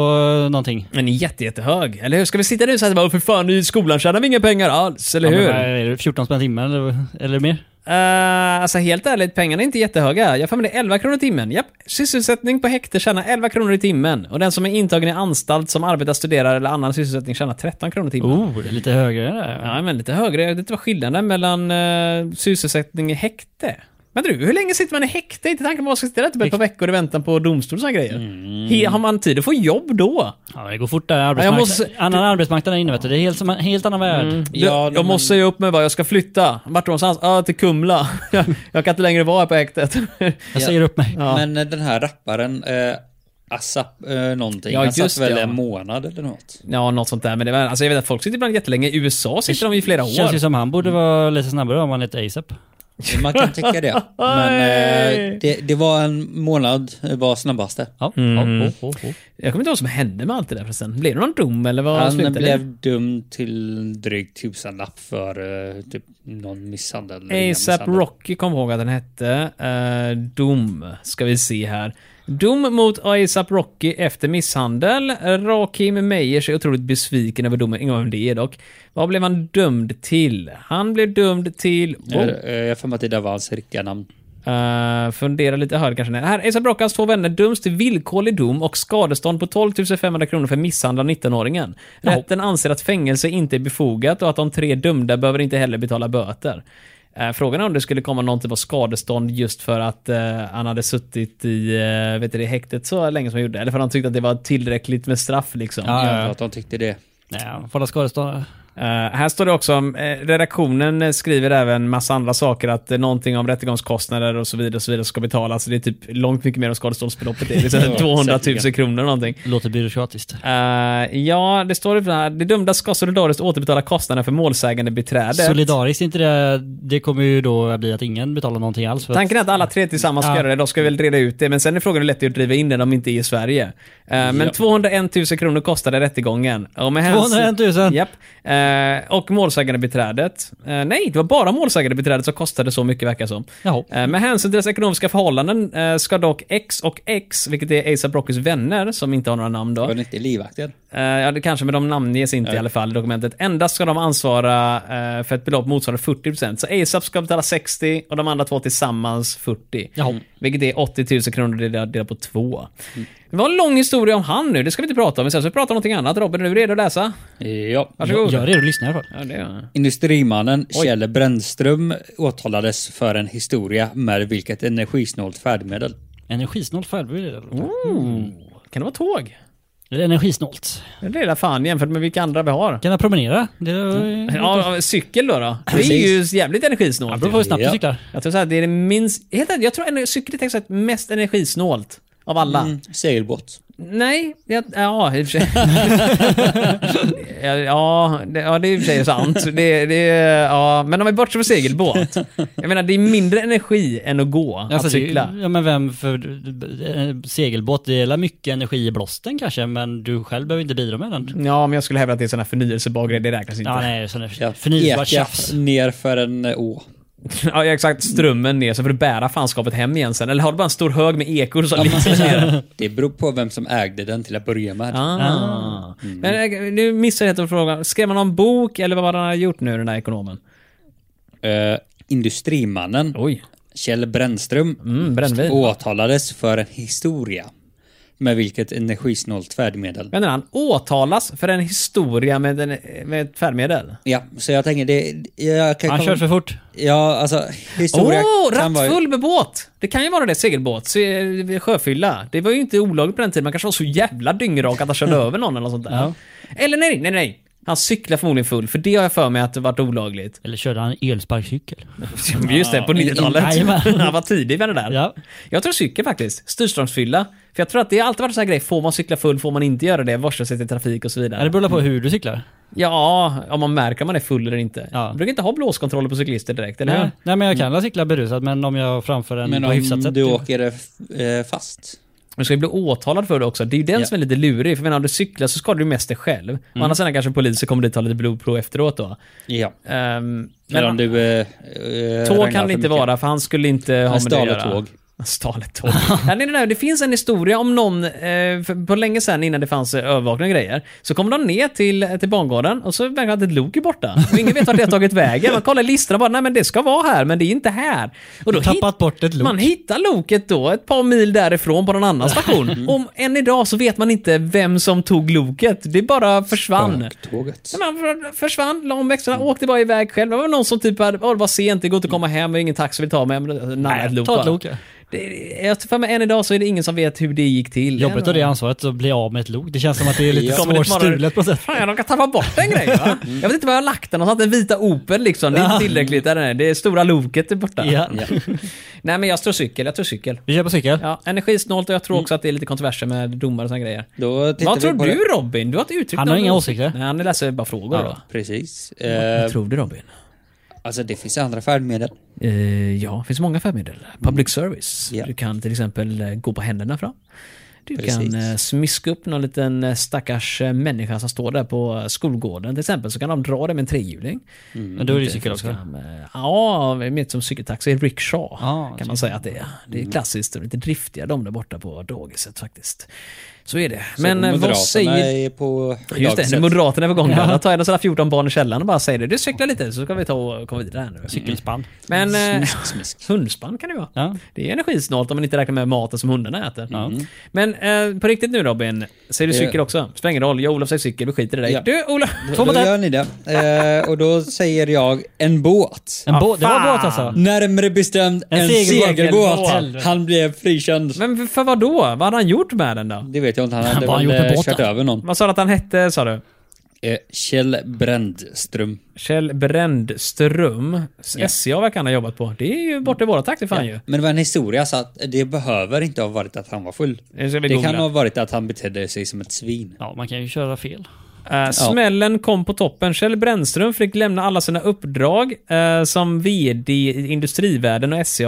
Speaker 4: eh, någonting?
Speaker 2: Den är jätte, jättehög. Eller hur? Ska vi sitta nu såhär bara, för fan i skolan tjänar vi inga pengar alls, eller
Speaker 4: Ja,
Speaker 2: hur?
Speaker 4: men vad är det 14 spänn timmen eller, eller mer?
Speaker 2: Eh, alltså helt ärligt, pengarna är inte jättehöga. Jag får med det 11 kronor i timmen. Japp. Sysselsättning på häkte tjänar 11 kronor i timmen. Och den som är intagen i anstalt som arbetar, studerar eller annan sysselsättning tjänar 13 kronor i timmen.
Speaker 4: Oh, det är lite högre än det. där.
Speaker 2: Ja, men lite högre. Det var skillnaden mellan eh, sysselsättning i häkte. Men du, hur länge sitter man i häkte? Inte tanken på att man ska sitta där typ ett par veckor i väntan på domstol och såna grejer. He- har man tid att få jobb då?
Speaker 4: Mm. Ja, men det går fort där.
Speaker 2: Jag
Speaker 4: Arbetsmarknad.
Speaker 2: måste- Mm.
Speaker 4: Annan arbetsmarknad är inne vet du. Det är helt, som- en helt annan värld.
Speaker 2: jag jag måste säga upp mig bara, jag ska flytta. Vart då någonstans? Ah, till Kumla. jag, jag kan inte längre vara här på häktet.
Speaker 4: Jag säger upp mig.
Speaker 2: Ja.
Speaker 1: Men eh, den här rapparen, eh, ASAP eh, någonting,
Speaker 2: Ja,
Speaker 1: han satt
Speaker 2: just det,
Speaker 1: väl
Speaker 2: ja.
Speaker 1: en månad eller något.
Speaker 2: Ja, något sånt där. Men det var, alltså jag vet att folk sitter ibland jättelänge. I USA sitter de i flera år.
Speaker 4: Känns ju som han borde vara lite snabbare om han hette ASAP.
Speaker 1: Man kan tycka det. Men eh, det, det var en månad var snabbaste.
Speaker 4: Ja.
Speaker 2: Mm.
Speaker 4: Ja, oh, oh, oh.
Speaker 2: Jag kommer inte ihåg vad som hände med allt det där förresten. Blev det någon dom eller vad
Speaker 1: Han
Speaker 2: slutade det?
Speaker 1: blev dömd till drygt tusenlapp för eh, typ någon misshandel. eller ingen
Speaker 2: ASAP
Speaker 1: misshandel.
Speaker 2: Rocky kom ihåg att den hette. Eh, dom, ska vi se här. Dom mot ASAP Rocky efter misshandel. Rakim Meyers är otroligt besviken över domen. Ingen aning om det är dock. Vad blev han dömd till? Han blev dömd till...
Speaker 1: Eh,
Speaker 2: Oh.
Speaker 1: eh, Jag har för mig att det där var hans riktiga namn.
Speaker 2: Eh, fundera lite högre kanske. Nej. Här, ASAP Rocky och hans två vänner döms till villkorlig dom och skadestånd på 12 500 kronor för misshandel av 19-åringen. Rätten anser att fängelse inte är befogat och att de tre dömda behöver inte heller betala böter. Eh, frågan är om det skulle komma någon typ av skadestånd just för att eh, han hade suttit i eh, vet du, det, häktet så länge som han gjorde. Eller för att han tyckte att det var tillräckligt med straff liksom.
Speaker 1: Jag
Speaker 4: Ja, ja,
Speaker 1: antar
Speaker 4: ja.
Speaker 1: att de tyckte det.
Speaker 4: Nej, han får hålla skadestånd.
Speaker 2: Eh, här står det också om, eh, redaktionen eh, skriver även massa andra saker, att eh, någonting om rättegångskostnader och så vidare och så vidare ska betalas. Det är typ långt mycket mer än skadeståndsbeloppet. Det är liksom
Speaker 1: Ja,
Speaker 2: 200 000
Speaker 1: säkerligen.
Speaker 2: kronor någonting.
Speaker 4: Låter byråkratiskt.
Speaker 2: Eh, ja, det står det här. De dömda ska solidariskt återbetala kostnaderna för målsägande beträdet.
Speaker 4: Solidariskt är inte det, det kommer ju då bli att ingen betalar någonting alls. För
Speaker 2: Tanken är att alla tre tillsammans ska
Speaker 4: Ja.
Speaker 2: göra det. De ska väl reda ut det. Men sen är frågan hur lätt det är att driva in det om de inte är i Sverige. Eh, Men 201 000 kronor kostade rättegången. Och med hänsyn-
Speaker 4: 201 000.
Speaker 2: Japp. Eh, och målsägandebiträdet. Eh, nej, det var bara målsägandebiträdet som kostade så mycket verkar som.
Speaker 4: Jaha.
Speaker 2: Eh, med hänsyn till deras ekonomiska förhållanden eh, ska dock X och X, vilket är ASAP Rockys vänner, som inte har några namn då.
Speaker 1: Var det inte livvakten?
Speaker 2: Eh, ja, det kanske, men de namnges inte i alla fall i dokumentet. Endast ska de ansvara eh, för ett belopp motsvarande 40%. Så ASAP ska betala 60 och de andra två tillsammans 40.
Speaker 4: Jaha.
Speaker 2: Vilket är 80 000 kronor delat delat på två.
Speaker 1: Mm.
Speaker 2: Det var en lång historia om han nu, det ska vi inte prata om. Men sen så pratar vi om någonting annat. Robin, är du redo att läsa?
Speaker 1: Ja.
Speaker 2: Varsågod.
Speaker 4: Gör det du lyssnar i alla fall.
Speaker 2: Ja, det är jag.
Speaker 1: Industrimannen Kjell Brännström åtalades för en historia med vilket energisnålt färdmedel.
Speaker 4: Energisnålt färdmedel.
Speaker 2: Oh. Mm. Kan det vara tåg?
Speaker 4: Eller energisnålt.
Speaker 2: Det är det fan jämfört med vilka andra vi har.
Speaker 4: Kan jag promenera? Det är...
Speaker 2: Ja, ja, cykel då, då? Det är
Speaker 1: Mm. Precis.
Speaker 2: ju jävligt
Speaker 4: Det
Speaker 2: energisnålt.
Speaker 4: beror på hur snabbt du
Speaker 1: Ja.
Speaker 4: cyklar.
Speaker 2: Jag tror så här, det är det minst... Helt ärligt, jag tror en cykel är tekniskt sett mest energisnålt av alla.
Speaker 1: Mm, segelbåt.
Speaker 2: Nej, jag, ja i och för sig. ja, det, ja, det är i och för sig sant. Det, det, ja. Men om vi bortser från segelbåt. Jag menar, det är mindre energi än att gå,
Speaker 4: Ja,
Speaker 2: att
Speaker 4: fast det-
Speaker 2: cykla.
Speaker 4: Alltså, Ja, men vem för eh, segelbåt, det gäller mycket energi i blåsten kanske, men du själv behöver inte bidra med den.
Speaker 2: Ja, men jag skulle hävda att det är sådana förnyelsebar grejer, det räknas inte.
Speaker 4: Ja,
Speaker 2: Ja,
Speaker 4: nej, sån där
Speaker 1: Jag
Speaker 4: förnybart
Speaker 1: ekar
Speaker 4: tjafs.
Speaker 1: ner för en eh, å.
Speaker 2: ja, exakt. Strömmen ner, så får du bära fanskapet hem igen sen. Eller har du bara en stor hög med ekor som ligger ner?
Speaker 1: Det beror på vem som ägde den till att börja med.
Speaker 2: Ah. Men eh, nu missar jag helt och frågan. Skrev man någon bok eller vad var det han har gjort nu, den här ekonomen?
Speaker 1: Eh, industrimannen
Speaker 2: Oj.
Speaker 1: Kjell Brännström
Speaker 2: Mm, brännvin.
Speaker 1: åtalades för en historia med vilket energisnålt färdmedel.
Speaker 2: Vänta, han åtalas för en historia med, en, med ett färdmedel?
Speaker 1: Ja, så jag tänker det... Jag kan
Speaker 4: Han
Speaker 1: komma-
Speaker 4: kör för fort.
Speaker 1: Ja, alltså
Speaker 2: Åh,
Speaker 1: historia kan vara...
Speaker 2: rattfull med båt! Det kan ju vara det, segelbåt, se- sjöfylla. Det var ju inte olagligt på den tiden, man kanske var så jävla dyngrak att han körde över någon eller något sånt där. Eller nej, nej, nej. Han cyklar förmodligen full, för det har jag för mig att det varit olagligt.
Speaker 4: Eller körde han elsparkcykel?
Speaker 2: Just det, på
Speaker 4: Ja,
Speaker 2: 90-talet.
Speaker 4: jajamän.
Speaker 2: Han var tidig med det där.
Speaker 4: Ja.
Speaker 2: Jag tror cykel faktiskt. Styrstångsfylla. För jag tror att det har alltid varit en sån här grej, får man cykla full, får man inte göra det, varsla sig till trafik och så
Speaker 4: Ja, det
Speaker 2: vidare.
Speaker 4: beror på hur du cyklar.
Speaker 2: Ja, om man märker om man är full eller inte.
Speaker 4: Ja.
Speaker 2: Man brukar inte ha blåskontroller på cyklister direkt, eller hur?
Speaker 4: Nej, nej men jag kan väl cykla berusad men om jag framför en
Speaker 1: Men
Speaker 4: på hyfsat
Speaker 1: om
Speaker 4: sätt.
Speaker 1: du
Speaker 4: typ.
Speaker 1: åker eh, fast.
Speaker 2: Du ska ju bli åtalad för det också. Det är ju den
Speaker 1: Ja. Mm.
Speaker 2: som är lite lurig, för menar, om du cyklar så skadar du mest dig själv. Å andra sidan kanske polisen kommer dit och tar lite blodprov efteråt då.
Speaker 1: Ja.
Speaker 2: Ehm,
Speaker 1: Men om
Speaker 2: men
Speaker 1: du... Eh, eh,
Speaker 2: tåg
Speaker 1: ragnar
Speaker 2: kan
Speaker 1: för
Speaker 2: det inte
Speaker 1: mycket.
Speaker 2: vara, för han skulle inte ha med det
Speaker 1: stal
Speaker 2: att
Speaker 1: ett
Speaker 2: göra.
Speaker 1: tåg.
Speaker 2: Han stal ett tåg. ja, nej, nej, nej, det finns en historia om någon, eh, för- på länge sedan innan det fanns eh, övervakning och grejer, så kom de ner till, till bangården och så verkar att ett lok är borta. Och ingen vet vart det har tagit vägen. Man kollar i listorna och bara, nej men det ska vara här, men det är inte här. Och då
Speaker 3: Tappat bort ett lok.
Speaker 2: Man hittar loket då, ett par mil därifrån på någon annan station. Om än idag så vet man inte vem som tog loket. Det bara försvann.
Speaker 1: Baktåget.
Speaker 2: Men han för- försvann, la om växlarna, åkte bara iväg själv. Det var någon som typ hade, "Åh, det var sent, det går inte att komma hem, och ingen taxi vill ta mig. Men det- Nej, ett lok
Speaker 4: ta ett
Speaker 2: bara.
Speaker 4: lok, ja.
Speaker 2: Det- Jag tror för mig än idag så är det ingen som vet hur det gick till.
Speaker 4: Jobbigt att det ansvaret att bli av med ett lok. Det känns som att det är lite
Speaker 2: Ja. Kommer
Speaker 3: Svårt
Speaker 2: lite bara-
Speaker 3: stulet på sätt.
Speaker 2: Fan, de kan tappa bort en grej va? Jag vet inte var jag har lagt den någonstans, den vita Opel liksom. Det är inte tillräckligt, där den är. det är stora loket är borta.
Speaker 4: Ja.
Speaker 2: Nej men jag tror cykel, jag tror cykel.
Speaker 4: Vi kör på cykel.
Speaker 2: Ja, energisnålt och jag tror också att det är lite kontroverser med domare och såna grejer.
Speaker 1: Då Mm. tittar
Speaker 2: Vad tror
Speaker 1: vi på
Speaker 2: du
Speaker 1: Det.
Speaker 2: Robin? Du har inte uttryckt
Speaker 4: Han har
Speaker 2: någon
Speaker 4: inga
Speaker 2: åsikt.
Speaker 4: åsikter.
Speaker 2: Nej, han läser bara frågor
Speaker 1: Ja,
Speaker 2: då.
Speaker 1: precis.
Speaker 2: Vad
Speaker 1: Eh,
Speaker 2: tror du Robin?
Speaker 1: alltså det finns andra färdmedel.
Speaker 2: Eh, ja, det finns många färdmedel. Public service.
Speaker 1: Ja.
Speaker 2: Du kan till exempel eh, gå på händerna fram. Du
Speaker 1: Precis.
Speaker 2: kan eh, smiska upp någon liten eh, stackars eh, människa som står där på eh, skolgården till exempel, så kan de dra det med en trehjuling.
Speaker 1: Mm.
Speaker 4: Men då är det ju cykel också.
Speaker 2: Fram, eh, Ja, mer som cykeltaxi, rickshaw
Speaker 4: Ja, Mm.
Speaker 2: kan man säga att det är. Det är klassiskt, de är lite driftiga de där borta på dagiset faktiskt. Så är det. Men eh, vad säger...
Speaker 1: är på
Speaker 2: Just det, när
Speaker 1: dagset.
Speaker 2: Moderaterna är på gång. Ja. Då tar jag sådana 14 barn i källaren och bara säger det. Du cyklar lite så ska vi ta och komma vidare här nu. Mm.
Speaker 4: Cykelspann.
Speaker 2: Men eh,
Speaker 1: Smisk, smisk.
Speaker 2: hundspann kan det vara.
Speaker 4: Ja.
Speaker 2: Det är energisnålt om man inte räknar med maten som hundarna äter. Mm. Men eh, på riktigt nu Robin, säger du
Speaker 1: Eh.
Speaker 2: cykel också? Spelar ingen roll, jag och Olof säger cykel, vi skiter i dig.
Speaker 1: Ja.
Speaker 2: Du Olof!
Speaker 1: Då, då gör ni det. Eh, och då säger jag en båt.
Speaker 4: En båt. Det var
Speaker 2: fan.
Speaker 4: båt alltså.
Speaker 1: Närmare bestämd en,
Speaker 4: En
Speaker 1: segelbåt.
Speaker 4: segelbåt.
Speaker 1: Han- Han blev frikänd.
Speaker 2: Men för vad då? Vad hade han gjort med den då?
Speaker 1: Det vet jag inte. Han hade
Speaker 4: Vad har han
Speaker 1: väl
Speaker 4: gjort med
Speaker 1: eh,
Speaker 4: båten?
Speaker 1: kört över någon.
Speaker 2: Vad sa du att han hette sa du?
Speaker 1: Eh, Kjell Brändström.
Speaker 2: Kjell Brändström. SCA verkar han ha jobbat på. Det är ju borta i våra trakter fan ju.
Speaker 1: Men det var en historia så att det behöver inte ha varit att han var full.
Speaker 2: Nu ska vi
Speaker 1: Det kan
Speaker 2: googla.
Speaker 1: ha varit att han betedde sig som ett svin.
Speaker 4: Ja, man kan ju köra fel.
Speaker 2: Eh, smällen kom på toppen. Kjell Brännström fick lämna alla sina uppdrag eh, som VD i Industrivärden och SCA.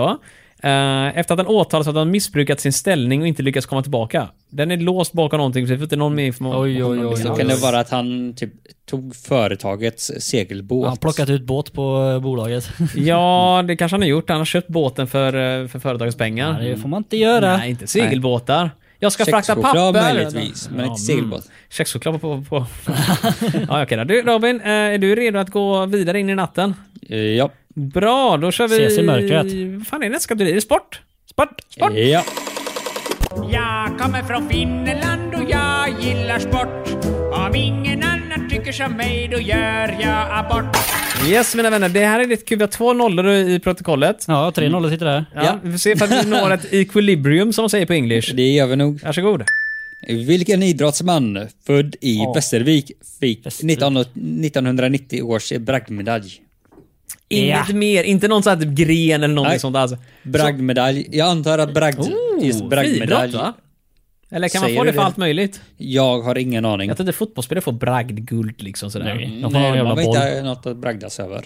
Speaker 2: eh, efter att han åtalats för att han missbrukat sin ställning och inte lyckats komma tillbaka. Den är låst bakom någonting, så vi får inte någon mer information.
Speaker 4: Oj, oj, oj.
Speaker 1: Så
Speaker 4: Ja,
Speaker 1: kan det
Speaker 4: visst.
Speaker 1: vara att han typ tog företagets segelbåt.
Speaker 4: Han har plockat ut båt på eh, bolaget.
Speaker 2: Ja, det kanske han har gjort. Han har köpt båten för, eh, för företagets pengar.
Speaker 4: Nej, det får man inte göra.
Speaker 2: Nej, inte segelbåtar. Jag ska frakta
Speaker 1: Kexchoklad
Speaker 2: papper.
Speaker 1: möjligtvis, men inte segelbåt.
Speaker 2: Kexchoklad på... på. ja, okej då. Du Robin, eh, är du redo att gå vidare in i natten?
Speaker 1: Eh, Ja.
Speaker 2: Bra, då kör vi...
Speaker 4: Ses i mörkret.
Speaker 2: Vad fan är det? Ska du är det sport? Sport! Sport!
Speaker 1: ja.
Speaker 6: Jag kommer från Finland och jag gillar sport. Om ingen annan tycker som mig då gör jag abort.
Speaker 2: Yes mina vänner, det här är ditt kul. Vi har två nollor i protokollet.
Speaker 4: Ja, tre nollor sitter där.
Speaker 2: Ja, Vi får se ifall vi når ett equilibrium som man säger på english.
Speaker 1: Det gör vi nog.
Speaker 2: Varsågod.
Speaker 1: Vilken idrottsman född i Västervik fick
Speaker 4: Västervik.
Speaker 1: 19, 1990 års bragdmedalj?
Speaker 2: Inget mer, inte någon sån här typ gren eller någonting
Speaker 1: Nej.
Speaker 2: sånt alltså.
Speaker 1: Bragdmedalj. Jag antar att bragd, just bragdmedalj.
Speaker 2: friidrott, Oh, va? Eller kan man
Speaker 1: Säger
Speaker 2: få
Speaker 1: du
Speaker 2: det för
Speaker 1: det?
Speaker 2: allt möjligt?
Speaker 1: Jag har ingen aning.
Speaker 2: Jag tror inte fotbollsspelare får bragdguld liksom sådär.
Speaker 4: Nej,
Speaker 2: Nej.
Speaker 4: de får ha en
Speaker 1: Nej,
Speaker 4: jävla
Speaker 1: man vet
Speaker 4: boll.
Speaker 1: inte något att bragdas över.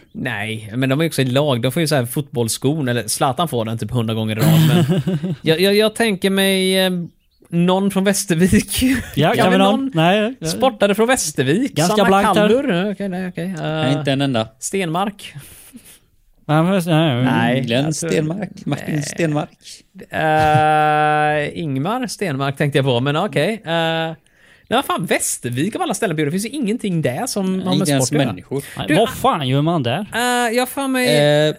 Speaker 2: men de är också i lag. De får ju så här fotbollsskon, eller Zlatan får den typ hundra gånger i rad. Men jag, jag, jag tänker mig eh, någon från Västervik.
Speaker 4: Ja, kan
Speaker 2: men
Speaker 4: vi någon? Nej.
Speaker 2: Sportare från Västervik.
Speaker 4: Ganska
Speaker 2: Sanna
Speaker 4: blankt här.
Speaker 2: Kallur. Ja, Okej, nej, okej. Eh,
Speaker 1: Nej, inte en enda.
Speaker 2: Stenmark.
Speaker 4: Nej, men- nej, nej.
Speaker 2: Nej,
Speaker 1: Glenn
Speaker 2: jag tror-
Speaker 1: Stenmark. Martin Stenmark.
Speaker 2: Eh, Ingmar Stenmark tänkte jag på, men okej. Okay. nej, vad fan, Västervik av alla ställen på jorden. Det finns ju ingenting där som har med
Speaker 1: Inte ens
Speaker 2: sport att göra.
Speaker 1: människor.
Speaker 4: Nej,
Speaker 2: Du-
Speaker 4: vad fan gör man där?
Speaker 2: Eh, jag har för mig...
Speaker 1: Eh,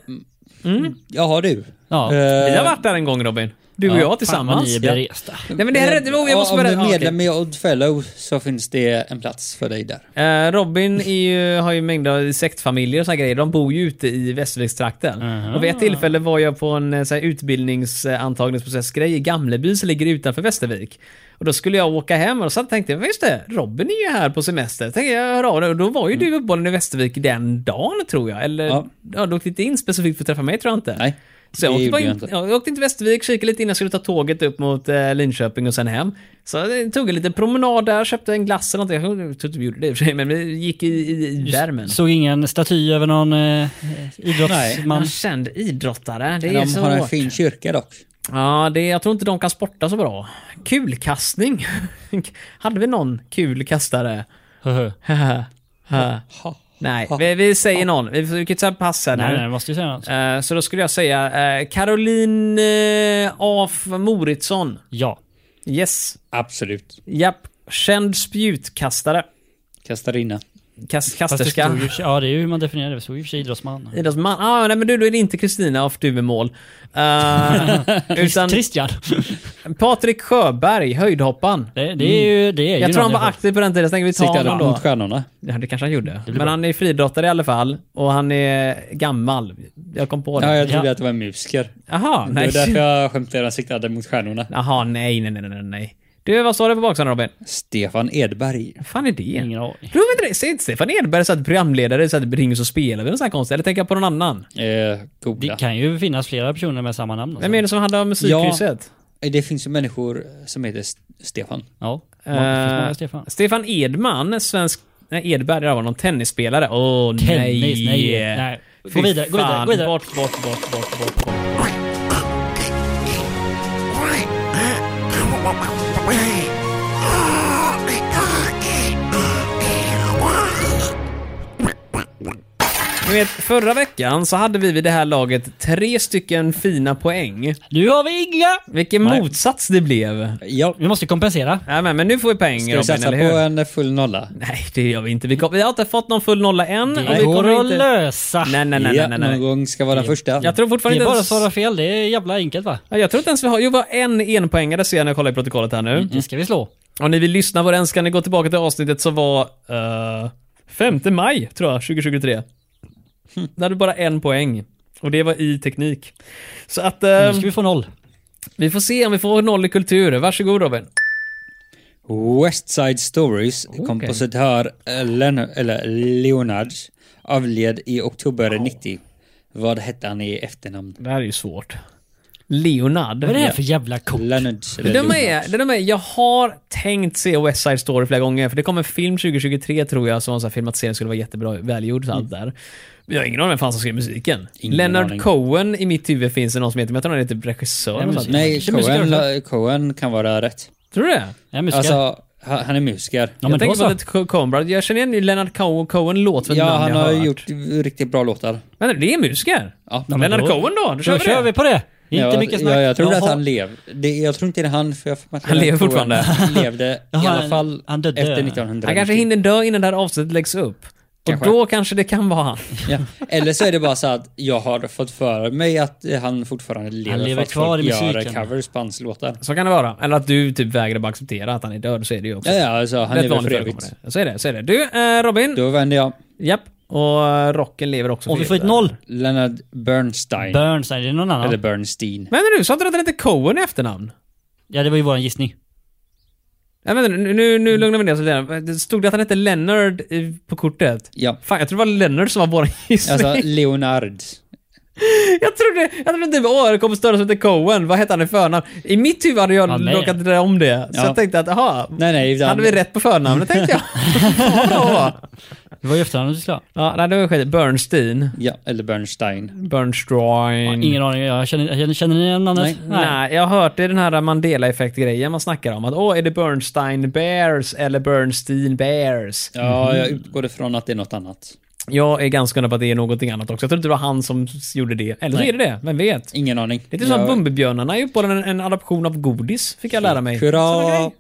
Speaker 1: Jaha du.
Speaker 4: Ja.
Speaker 1: Eh,
Speaker 2: Vi har varit där en gång Robin. Du och
Speaker 4: eh, Ja,
Speaker 2: jag
Speaker 4: Fan vad ni
Speaker 2: tillsammans.
Speaker 4: är beresta.
Speaker 2: Nej men det här är rätt roligt, jag måste
Speaker 1: om du
Speaker 2: berätta.
Speaker 1: är
Speaker 2: Ja, okej.
Speaker 1: medlem i Odd Fellow så finns det en plats för dig där.
Speaker 2: Eh, Robin är ju, har ju mängder av sektfamiljer och såna grejer. De bor ju ute i Västervikstrakten. Och vid ett tillfälle var jag på en eh, så här, utbildningsantagningsprocessgrej i Gamleby som ligger utanför Västervik. Och då skulle jag åka hem och så tänkte jag, just det, Robin är ju här på semester. Tänkte jag, hör av dig. Och då var ju du uppehållen i Västervik den dagen tror jag. Eller, ja.
Speaker 1: Ja.
Speaker 2: du åkte inte in specifikt för att träffa mig tror jag inte.
Speaker 1: Nej,
Speaker 2: Så jag
Speaker 1: det
Speaker 2: åkte, bara
Speaker 1: gjorde
Speaker 2: in,
Speaker 1: jag
Speaker 2: jag
Speaker 1: inte.
Speaker 2: jag åkte in till Västervik, kikade lite innan jag skulle ta tåget upp mot eh, Linköping och sen hem. Så jag tog en liten promenad där, köpte en glass eller någonting. Jag tror inte vi gjorde det i och för sig, men vi gick i, i, i värmen.
Speaker 4: Såg ingen staty över någon eh, idrottsman?
Speaker 2: Man känd idrottare, det är
Speaker 1: De
Speaker 2: så
Speaker 1: har en
Speaker 2: hårt.
Speaker 1: fin kyrka dock.
Speaker 2: Ja, det, jag tror inte de kan sporta så bra. Kulkastning. Hade vi någon kulkastare?
Speaker 4: Höhö.
Speaker 2: nej, vi, vi säger någon. Vi vi kan inte säga pass här
Speaker 4: Nej,
Speaker 2: nu.
Speaker 4: nej, måste ju säga något.
Speaker 2: Eh, Så då skulle jag säga eh, Caroline eh, af Moritzson.
Speaker 4: Ja.
Speaker 2: Yes.
Speaker 1: Absolut.
Speaker 2: Japp. Känd spjutkastare.
Speaker 1: Kastarina.
Speaker 2: Kas
Speaker 4: Fast det stod
Speaker 2: kasterska.
Speaker 4: ju, ja, det är ju hur man definierar det. Det stod ju i och för sig idrottsman.
Speaker 2: Idrottsman. Ah, nej men du, då är det inte Kristina af Duvemål. Uh, utan
Speaker 4: Christian.
Speaker 2: Patrik Sjöberg, höjdhoppan.
Speaker 4: Det, det är ju... Det är ju
Speaker 2: Jag tror han
Speaker 4: någon
Speaker 2: var
Speaker 4: jag-
Speaker 2: aktiv på den tiden, så tänkte vi ta
Speaker 1: Siktade
Speaker 2: honom då.
Speaker 1: mot stjärnorna.
Speaker 2: Ja, det kanske han gjorde. Men
Speaker 4: bra.
Speaker 2: han är friidrottare i alla fall. Och han är gammal. Jag kom på det.
Speaker 1: Ja, jag trodde
Speaker 4: Ja.
Speaker 1: att det var en musiker.
Speaker 2: Aha, nej.
Speaker 1: Det var därför jag skämtade och siktade mot stjärnorna.
Speaker 2: Aha, nej, nej, nej, nej, nej. Du, vad sa du på baksidan Robin?
Speaker 1: Stefan Edberg.
Speaker 2: Vad fan är det?
Speaker 4: Ingen aning.
Speaker 2: Tror inte det? Säg inte Stefan Edberg så att programledare så att det ringer så spelar vi något sånt här konstigt. Eller tänker jag på någon annan?
Speaker 1: Eh,
Speaker 4: Det
Speaker 1: googla.
Speaker 4: kan ju finnas flera personer med samma namn. alltså.
Speaker 2: Vem är det som handlar om musikhuset?
Speaker 1: Det, finns ju människor som heter S- Stefan.
Speaker 4: Ja. Det
Speaker 2: Eh,
Speaker 4: finns många Stefan.
Speaker 2: Stefan Edman, svensk... Nej, Edberg, det där var någon tennisspelare. Åh, oh, nej. eh,
Speaker 4: Tennis, nej. nej. Gå
Speaker 2: Fy
Speaker 4: vidare, gå vidare,
Speaker 2: fan.
Speaker 4: gå vidare.
Speaker 2: Bort, bort, bort, bort, bort. bort. Ni vet, förra veckan så hade vi vid det här laget tre stycken fina poäng.
Speaker 4: Nu har vi inga!
Speaker 2: Vilken
Speaker 4: Nej.
Speaker 2: motsats det blev.
Speaker 1: Ja,
Speaker 4: Vi måste kompensera.
Speaker 2: Nej, men, men nu får vi poäng
Speaker 1: ska vi
Speaker 2: Robin,
Speaker 1: satsa
Speaker 2: eller
Speaker 1: på
Speaker 2: hur?
Speaker 1: en full nolla?
Speaker 2: Nej, det gör vi inte. Vi, kom... vi har inte fått någon full nolla än. och
Speaker 4: Det
Speaker 2: vi kommer
Speaker 4: går att
Speaker 2: inte...
Speaker 4: lösa.
Speaker 2: Nej, nej, nej,
Speaker 1: ja,
Speaker 2: nej, nej.
Speaker 1: någon
Speaker 2: nej.
Speaker 1: gång ska vara den första.
Speaker 2: Jag tror
Speaker 4: Det
Speaker 2: fortfarande
Speaker 4: är
Speaker 2: inte
Speaker 4: bara att
Speaker 2: ens...
Speaker 4: svara fel. Det är jävla enkelt va?
Speaker 2: Ja, Jag tror inte ens vi har... Jo, vi har en enpoängare ser jag när jag kollar i protokollet här nu.
Speaker 4: Det ska vi slå.
Speaker 2: Om ni vill lyssna på den ska ni gå tillbaka till avsnittet som var... eh, 5 maj, tror jag, 2023.
Speaker 4: Hm.
Speaker 2: Där hade bara en poäng. Och det var i teknik. Så att... eh,
Speaker 4: Nu Mm, ska vi få noll.
Speaker 2: Vi får se om vi får noll i kultur. Varsågod Robin.
Speaker 1: West Side Stories kompositör Len eller Leonard avled i oktober 90. Vad hette han i efternamn?
Speaker 2: Det här är ju svårt. Leonard.
Speaker 4: Vad är det här för jävla kort?
Speaker 1: Leonard.
Speaker 2: Det
Speaker 1: eller
Speaker 2: dumma
Speaker 1: Leonard.
Speaker 2: är, det dumma är, jag har tänkt se West Side Story flera gånger, för det kom en film 2023 tror jag som var en sån här filmatisering skulle vara jättebra, välgjord och allt där. Men jag har ingen aning vem fan som skrev musiken.
Speaker 1: Mm. Ingen
Speaker 2: Leonard
Speaker 1: aning.
Speaker 2: Cohen i mitt huvud finns det någon som heter, men jag tror han är typ regissör eller sånt.
Speaker 1: Nej,
Speaker 4: Kanske musiker
Speaker 1: Cohen,
Speaker 4: också.
Speaker 1: la- Cohen kan vara rätt.
Speaker 2: Tror du det?
Speaker 4: Jag är musiker.
Speaker 1: Alltså, han han är musiker.
Speaker 4: ja,
Speaker 2: jag
Speaker 4: men då
Speaker 2: tänker
Speaker 4: så.
Speaker 2: på att Co- Coen Brothers, jag känner igen ju Leonard Co- Cohen låt för ett
Speaker 1: Ja,
Speaker 2: namn
Speaker 1: han
Speaker 2: jag
Speaker 1: har
Speaker 2: hört.
Speaker 1: gjort riktigt bra låtar.
Speaker 2: Men det är musiker?
Speaker 1: Ja.
Speaker 4: men
Speaker 2: Leonard
Speaker 4: då-
Speaker 2: Cohen då? Då kör
Speaker 4: Då
Speaker 2: vi
Speaker 4: kör
Speaker 2: det.
Speaker 4: vi på det. Inte
Speaker 1: jag,
Speaker 4: mycket snack.
Speaker 1: Ja, jag trodde
Speaker 4: Jaha.
Speaker 1: att han lev. Det, jag tror inte det är han, för jag får-
Speaker 2: Han lever fortfarande.
Speaker 1: Han levde i
Speaker 4: Jaha,
Speaker 1: alla
Speaker 4: han-
Speaker 1: fall
Speaker 4: han dödde.
Speaker 1: efter 1990.
Speaker 2: Han kanske hinner dö innan det här avsnittet läggs upp.
Speaker 1: Kanske.
Speaker 2: Och då kanske det kan vara han.
Speaker 1: Ja. Eller så är det bara så att jag har fått för mig att han fortfarande lever.
Speaker 4: lever
Speaker 1: för att
Speaker 4: kvar
Speaker 1: folk
Speaker 4: i
Speaker 1: gör
Speaker 4: musiken.
Speaker 1: covers på hans låtar.
Speaker 2: Så kan det vara. Eller att du typ vägrar bara acceptera att han är död, så är det ju också.
Speaker 1: Ja, ja, alltså han
Speaker 2: Rätt
Speaker 1: lever för
Speaker 2: vanligt
Speaker 1: evigt.
Speaker 2: förekommande. Så är det, så är det. Du, eh, Robin.
Speaker 1: Då vänder jag.
Speaker 2: Japp. Och eh, rocken lever också.
Speaker 4: Om
Speaker 2: för
Speaker 4: vi får ett
Speaker 2: evigt.
Speaker 4: noll.
Speaker 1: Leonard Bernstein.
Speaker 4: Burns, är det någon annan?
Speaker 1: Eller Bernstein.
Speaker 2: Men du, sa inte du att han hette Cohen i efternamn?
Speaker 4: Ja, det var ju våran gissning.
Speaker 2: Nej, vänta, nu, nu, nu lugnar vi ner oss lite. grann. Det Stod det att han hette Leonard i- på kortet?
Speaker 1: Ja.
Speaker 2: Fan, jag trodde det var Leonard som var vår gissning.
Speaker 1: Alltså Leonard.
Speaker 2: Jag trodde, jag trodde typ, åh, det kommer större som heter Cohen. Vad hette han i förnamn? I mitt huvud hade jag
Speaker 4: Ja, nej.
Speaker 2: råkat dra om det. Så
Speaker 1: Ja.
Speaker 2: jag tänkte att, aha,
Speaker 1: Nej, nej. utan-
Speaker 2: hade vi rätt på förnamnet tänkte jag. Vad bra.
Speaker 4: Det var ju efternamnet du skulle ha.
Speaker 2: ja, nej, det var skit. Bernstein.
Speaker 1: Ja, eller Bernstein.
Speaker 2: Bernstein.
Speaker 4: Ingen aning. Jag känner, jag känner ni någon annan?
Speaker 1: Nej.
Speaker 2: Mm. Nej, jag har hört det i den här Mandela-effekt-grejen man snackar om. Att åh, är det Bernstein Bears eller Bernstein Bears?
Speaker 1: Ja, jag utgår ifrån att det är något annat.
Speaker 2: Jag är ganska hundra på att det är någonting annat också. Jag tror inte det var han som gjorde det. Eller så är det det, vem vet?
Speaker 1: Ingen aning.
Speaker 2: Det är typ som
Speaker 1: Jag-
Speaker 2: Bumbibjörnarna är ju på en, en adoption av godis, fick jag lära mig.
Speaker 1: Hurra!
Speaker 2: Sån grej.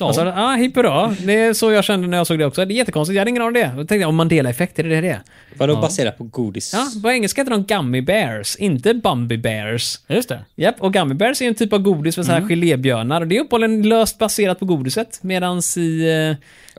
Speaker 2: Och så, ah, hipp hurra. Det är så jag kände när jag såg det också. Det är jättekonstigt, jag hade ingen aning om det. Då tänkte jag, om Mandela-effekt, är det det?
Speaker 1: Vadå baserat på godis?
Speaker 2: Ja, på engelska heter de Gummy Bears, inte Bumby Bears.
Speaker 3: Just det.
Speaker 2: Japp, och Gummy Bears är en typ av godis med så
Speaker 1: Mm.
Speaker 2: här gelébjörnar. Och det är uppehållen löst baserat på godiset. Medan i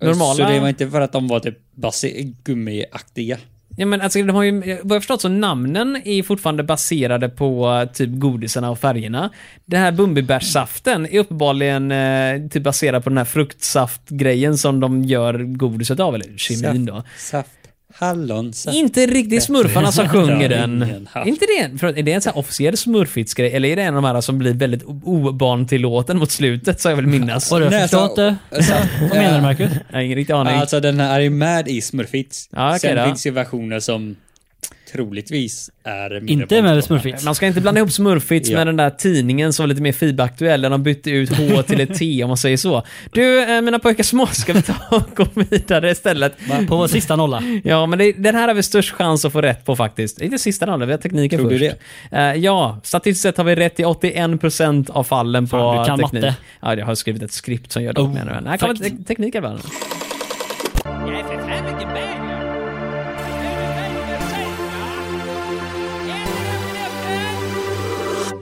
Speaker 2: eh, normala...
Speaker 1: Så det var inte för att de var typ base- gummiaktiga?
Speaker 2: Ja, men alltså, de har ju, vad jag har förstått så namnen är fortfarande baserade på eh, typ godisarna och färgerna. Den här bumbibärssaften är uppenbarligen eh, typ baserad på den här fruktsaftgrejen som de gör godiset av, eller kemin då.
Speaker 1: Saft, saft hallonsaft.
Speaker 2: Inte riktigt smurfarna som sjunger den.
Speaker 1: Ingen hatt.
Speaker 2: Inte det, för är det en sån här officiell smurfitsgrej eller är det en av de här som blir väldigt o- obarntillåten mot slutet så jag vill minnas?
Speaker 3: Vadå,
Speaker 1: Nej,
Speaker 3: jag förstår
Speaker 1: alltså-
Speaker 3: inte. Vad menar du Marcus?
Speaker 2: Jag har ingen riktig aning.
Speaker 1: Alltså den här är med i Smurfits.
Speaker 2: Ja, okej
Speaker 1: Sen
Speaker 2: då.
Speaker 1: finns ju versioner som troligtvis är mindre
Speaker 3: Inte med
Speaker 1: barnskapande.
Speaker 3: smurfits.
Speaker 2: Man ska inte blanda ihop Smurfits
Speaker 1: Ja.
Speaker 2: med den där tidningen som var lite mer FIB-aktuell, där de bytte ut H till ett T om man säger så. Du, eh, mina pojkar små, ska vi ta och gå vidare istället?
Speaker 3: På vår sista nolla.
Speaker 2: Ja, men det, den här har vi störst chans att få rätt på faktiskt. Inte sista rollen, vi har tekniken
Speaker 1: Tror du
Speaker 2: först. Eh, ja, statistiskt sett har vi rätt i 81% av fallen på
Speaker 3: Fan, du kan
Speaker 2: teknik.
Speaker 3: matte. Oh,
Speaker 2: Ja, jag har skrivit ett skript som gör det åt mig nu. Här kommer
Speaker 3: tack.
Speaker 2: te- teknik i världen.
Speaker 6: Jag är för fan vilken bär jag. Jag är för fan vilken säng jag. Äter upp löften.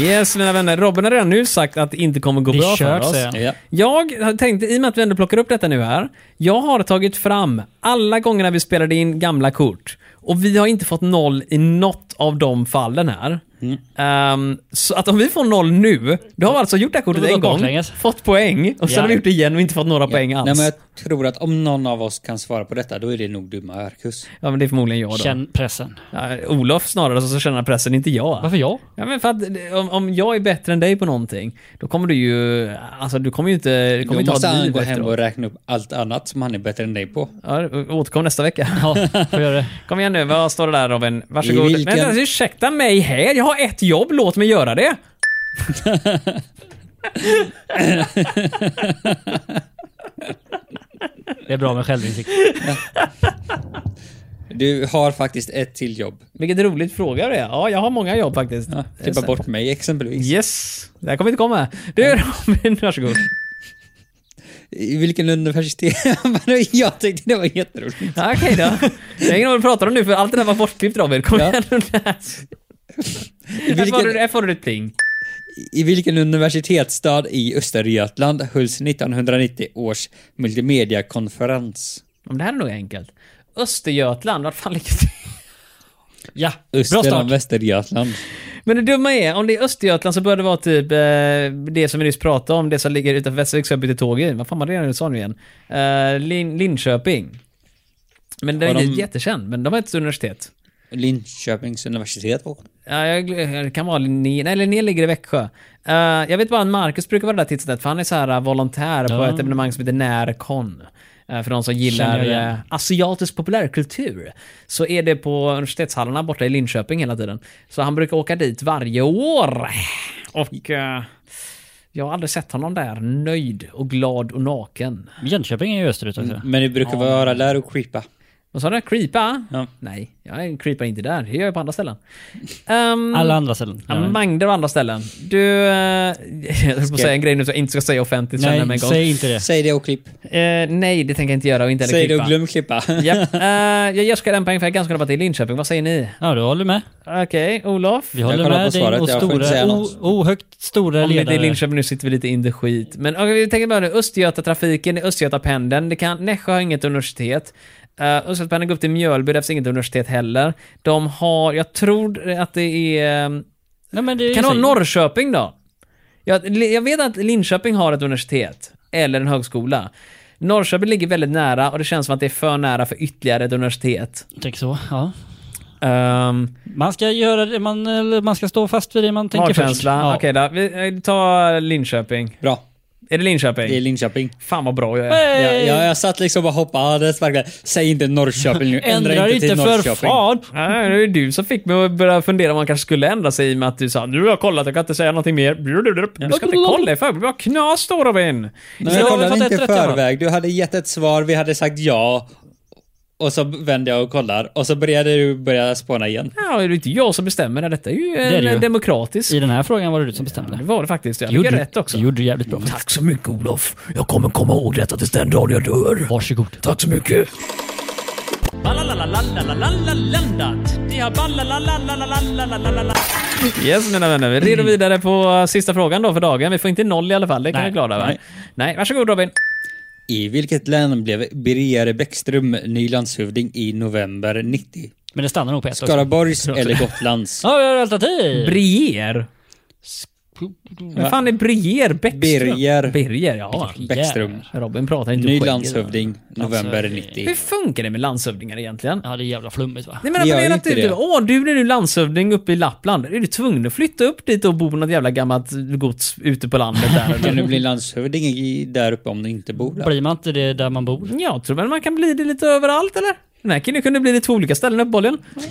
Speaker 2: Yes, mina vänner. Robin har redan nu sagt att det inte kommer gå
Speaker 3: Det
Speaker 2: bra
Speaker 3: är
Speaker 2: för
Speaker 3: kört
Speaker 2: oss.
Speaker 3: säger jag.
Speaker 1: Ja.
Speaker 2: Jag tänkte, i och med att vi ändå plockar upp detta nu här. Jag har tagit fram alla gångerna vi spelade in gamla kort. Och vi har inte fått noll i något av de fallen här.
Speaker 1: Mm.
Speaker 2: Ehm, så att om vi får noll nu, då har vi alltså gjort det här
Speaker 3: Då
Speaker 2: kortet
Speaker 3: går
Speaker 2: en
Speaker 3: det
Speaker 2: gång,
Speaker 3: baklänges.
Speaker 2: fått poäng och sen
Speaker 3: Ja.
Speaker 2: har vi gjort det igen och inte fått några poäng alls.
Speaker 1: Nej, men jag tror att om någon av oss kan svara på detta, då är det nog dumma Marcus.
Speaker 2: Ja, men det är förmodligen jag då.
Speaker 3: Känn pressen.
Speaker 2: Ja, Olof snarare som känner pressen, inte jag.
Speaker 3: Varför jag?
Speaker 2: Ja, men för att, eh, om, om jag är bättre än dig på någonting, då kommer du ju... Alltså du kommer ju inte... Du kommer
Speaker 1: Då
Speaker 2: inte
Speaker 1: måste
Speaker 2: ha ett
Speaker 1: han
Speaker 2: liv
Speaker 1: gå hem
Speaker 2: efteråt.
Speaker 1: och räkna upp allt annat som han är bättre än dig på.
Speaker 2: Ja, återkom nästa vecka.
Speaker 3: Ja, får göra det.
Speaker 2: Kom igen nu, vad står det där Robin? Varsågod.
Speaker 1: I vilken-
Speaker 2: Vänta, ursäkta mig här, jag har ett jobb, låt mig göra det.
Speaker 3: Det är bra med självinsikt.
Speaker 1: Du har faktiskt ett till jobb.
Speaker 2: Vilket roligt fråga det är. Ja, jag har många jobb faktiskt. Det är
Speaker 1: Klippa
Speaker 2: så-
Speaker 1: bort mig exempelvis.
Speaker 2: Yes, det här kommer inte komma. Du Robin, varsågod.
Speaker 1: I vilken universitet? Vadå, jag tyckte det var jätteroligt.
Speaker 2: Ja, Okej då. Det är ingen aning vad du pratar om nu, för allt det där var bortklippt Robin. Kom
Speaker 1: Ja.
Speaker 2: igen nu. Här får du- Här får du ditt pling.
Speaker 1: I vilken universitetsstad i Östergötland hölls 1990 års multimediakonferens?
Speaker 2: Om det här är nog enkelt. Östergötland, vart fan ligger det?
Speaker 3: Ja, bra
Speaker 1: Öster om
Speaker 3: start.
Speaker 1: Västergötland.
Speaker 2: Men det dumma är, om det är Östergötland så bör det vara typ eh, det som vi nyss pratade om, det som ligger utanför Västervik som jag bytte tåg i. Vad fan var det jag sa nu igen? Eh, Lin- Linköping. Men den är
Speaker 1: Har
Speaker 2: inte
Speaker 1: de-
Speaker 2: jättekänd, men de har ett universitet.
Speaker 1: Linköpings universitet. va?
Speaker 2: Ja, jag, gl- det kan vara Linné, nej Linné ligger i Växjö. Eh, jag vet bara att Marcus brukar vara där titt som tätt, för han är så här eh, volontär på
Speaker 3: Ja.
Speaker 2: ett evenemang som heter Närkon. Eh, för de som gillar
Speaker 3: Känner jag igen.
Speaker 2: eh, asiatisk populärkultur så är det på universitetshallarna borta i Linköping hela tiden. Så han brukar åka dit varje år. Och eh, jag har aldrig sett honom där nöjd och glad och naken.
Speaker 3: Jönköping är ju österut också.
Speaker 1: Men det brukar vara där och creepa.
Speaker 2: Vad sa du? Creepa?
Speaker 1: Ja.
Speaker 2: Nej, jag creepar inte där. Det gör jag på andra ställen. Ehm,
Speaker 3: Alla andra ställen.
Speaker 2: Ja, Magda och andra ställen. Du, eh, jag höll på att säga en grej nu som jag inte ska säga offentligt känner jag
Speaker 3: Nej,
Speaker 2: mig en gång.
Speaker 3: säg inte det.
Speaker 1: Säg det och klipp.
Speaker 2: Eh, nej, det tänker jag inte göra och inte heller
Speaker 1: Säg det
Speaker 2: klippa.
Speaker 1: och glöm klippa.
Speaker 2: Japp. Eh, jag ger Oskar en poäng för jag är ganska glad på att det är Linköping. Vad säger ni?
Speaker 3: Ja, du håller med.
Speaker 2: Okej, Olof?
Speaker 3: Vi
Speaker 1: Jag
Speaker 3: håller
Speaker 1: kollar på
Speaker 3: med dig
Speaker 1: svaret,
Speaker 3: och
Speaker 1: jag får inte
Speaker 3: stora,
Speaker 1: säga
Speaker 3: o,
Speaker 1: något.
Speaker 3: ohögt stora
Speaker 2: Om det är
Speaker 3: ledare.
Speaker 2: Linköping nu sitter vi lite in the skit. Men okej, vi tänker bara nu. Östgötatrafiken, Östgötapendeln. Det kan, Nässjö har inget universitet. Uh, Östgötapendeln går upp till Mjölby, där finns inget universitet heller. De har, jag tror att det är... eh,
Speaker 3: Nej, men det är
Speaker 2: Kan
Speaker 3: ju
Speaker 2: det vara
Speaker 3: så-
Speaker 2: Norrköping då? Jag, jag vet att Linköping har ett universitet, eller en högskola. Norrköping ligger väldigt nära och det känns som att det är för nära för ytterligare ett universitet.
Speaker 3: Tänk så, ja.
Speaker 2: Um,
Speaker 3: Man ska göra det, man, eller man ska stå fast vid det man tänker först.
Speaker 2: magkänsla.
Speaker 3: Ja.
Speaker 2: Okej då, vi eh, tar Linköping.
Speaker 1: Bra.
Speaker 2: Är det Linköping?
Speaker 1: Det är Linköping.
Speaker 2: Fan vad bra jag är.
Speaker 1: Ja, ja, jag satt liksom och hoppades verkligen. Säg inte Norrköping nu. Ändra,
Speaker 3: Ändrar
Speaker 1: inte till
Speaker 3: inte för
Speaker 1: Norrköping.
Speaker 3: fan!
Speaker 2: Nej, det är du som fick mig att börja fundera om man kanske skulle ändra sig i och med att du sa nu har jag kollat, jag kan inte säga någonting mer. Du ska inte kolla i förväg, vad knas då Robin!
Speaker 1: Nej,
Speaker 3: Så har
Speaker 1: jag
Speaker 3: vi
Speaker 1: kollade
Speaker 3: fått
Speaker 1: inte
Speaker 3: ett
Speaker 1: i
Speaker 3: rätt i alla fall.
Speaker 1: förväg. Du hade gett ett svar, vi hade sagt ja. och så vänder jag och kollar och så börjar du börja spåna igen.
Speaker 2: Ja, det är ju inte jag som bestämmer det. Detta är ju en
Speaker 4: är det ju.
Speaker 2: demokratisk...
Speaker 4: I den här frågan var det du som
Speaker 2: Det
Speaker 4: bestämde.
Speaker 2: var det faktiskt. Jag fick rätt också.
Speaker 4: Du gjorde du jävligt bra.
Speaker 2: Tack så mycket Olof. Jag kommer komma ihåg detta tills den dagen jag dör.
Speaker 4: Varsågod.
Speaker 2: Tack så mycket. Yes mina vänner, vi rider vidare på sista frågan då för dagen. Vi får inte noll i alla fall, det kan
Speaker 4: Nej,
Speaker 2: vi vara glada över. Nej.
Speaker 1: nej.
Speaker 2: varsågod Robin.
Speaker 1: I vilket län blev Birger Bäckström ny landshövding i november 90?
Speaker 4: Men det stannar nog på ett också.
Speaker 1: Skaraborgs eller Gotlands?
Speaker 4: Ja, vi har alternativ!
Speaker 2: Brier. Vem fan är Brier Bäckström?
Speaker 1: Birger.
Speaker 2: Birger, ja.
Speaker 1: Bäckström.
Speaker 2: Robin pratar inte
Speaker 1: Ny
Speaker 2: skägg.
Speaker 1: landshövding, november
Speaker 4: Landshövding.
Speaker 1: 90.
Speaker 2: Hur funkar det med landshövdingar egentligen?
Speaker 4: Ja, det är jävla flummigt va?
Speaker 2: Nej men
Speaker 1: Vi gör
Speaker 2: ponera
Speaker 1: ju
Speaker 2: att
Speaker 1: inte
Speaker 2: du,
Speaker 1: det.
Speaker 2: åh du blir nu landshövding uppe i Lappland. Är du tvungen att flytta upp dit och bo på något jävla gammalt gods ute på landet där?
Speaker 1: Kan du bli landshövding i- där uppe om du inte bor där?
Speaker 4: Blir man inte det där man bor?
Speaker 2: Jag tror väl man kan bli det lite överallt eller? Den här killen kunde bli det på olika ställen uppenbarligen.
Speaker 1: Nej,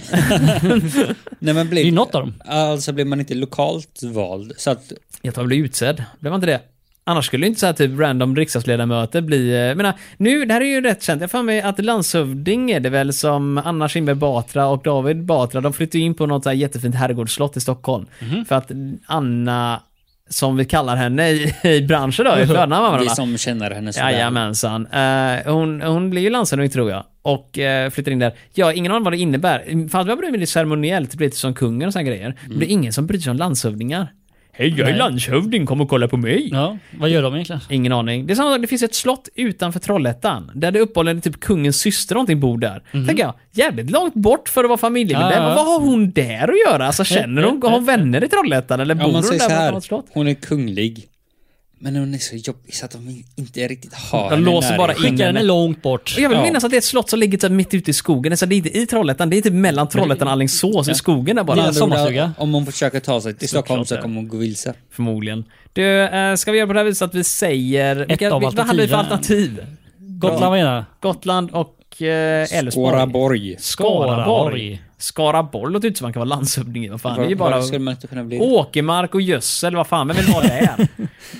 Speaker 1: men
Speaker 4: Det är
Speaker 1: blir,
Speaker 4: något av dem.
Speaker 1: alltså blir man inte lokalt vald? Så att,
Speaker 2: Jag tror han blev utsedd. Blev han inte det? Annars skulle ju inte så här typ random riksdagsledamöter bli... eh, Jag menar, nu, det här är ju rätt känt. Jag har för mig att landshövding är det väl som Anna Kinberg Batra och David Batra. De flyttade ju in på något så här jättefint herrgårdsslott i Stockholm.
Speaker 1: Mhm.
Speaker 2: För att Anna, som vi kallar henne i, i branschen då, i förnamn va?
Speaker 1: vi som känner henne så väl.
Speaker 2: Jajamensan. Eh, hon, hon blir ju landshövding tror jag. Och eh, flyttar in där. Jag har ingen aning vad det innebär. Fast jag bryr mig lite ceremoniellt, lite som kungen och såna grejer. Men det är ingen som bryr sig om landshövdingar. Mm. Hej, jag är landshövding, kom och kolla på mig.
Speaker 4: Ja, vad gör de egentligen?
Speaker 2: Ingen aning. Det är samma sak, det finns ett slott utanför Trollhättan. Där det uppehåller typ kungens syster någonting bor där. Tänker jag, jävligt långt bort för att vara familjemedlem.
Speaker 4: Ja, ja.
Speaker 2: Vad har hon där att göra? Alltså känner hon, har hon vänner i Trollhättan? Eller bor
Speaker 1: Om man
Speaker 2: hon
Speaker 1: säger
Speaker 2: där
Speaker 1: så
Speaker 2: på
Speaker 1: här,
Speaker 2: något slott?
Speaker 1: hon är kunglig. Men hon är så jobbig så att de inte riktigt har
Speaker 2: De
Speaker 1: henne
Speaker 2: låser
Speaker 1: nära.
Speaker 2: bara in
Speaker 4: Skickar den är långt bort.
Speaker 2: Och Jag vill
Speaker 1: Ja.
Speaker 2: minnas att det är ett slott som ligger typ mitt ute i skogen. Så det är inte i Trollhättan, det är typ mellan Trollhättan och Alingsås i skogen där bara.
Speaker 1: Med andra ord,
Speaker 4: sommarstuga.
Speaker 1: Om hon försöker ta sig till Stockholm så
Speaker 2: Såklart, ja.
Speaker 1: kommer hon gå vilse.
Speaker 2: Förmodligen. Du, eh, ska vi göra på det här viset att vi säger... vilka,
Speaker 4: av
Speaker 2: vad hade vi för alternativ?
Speaker 4: Gotland var ena.
Speaker 2: Gotland och eh, Älvsborg.
Speaker 1: Skaraborg.
Speaker 2: Skaraborg.
Speaker 4: Skaraborg.
Speaker 2: Skaraborg låter ju inte som man kan vara landshövding i. Vad fan, det är ju
Speaker 1: Var,
Speaker 2: bara
Speaker 1: bara... skulle man inte kunna bli?
Speaker 2: åkermark och gödsel. Vad fan, vem vill ha det?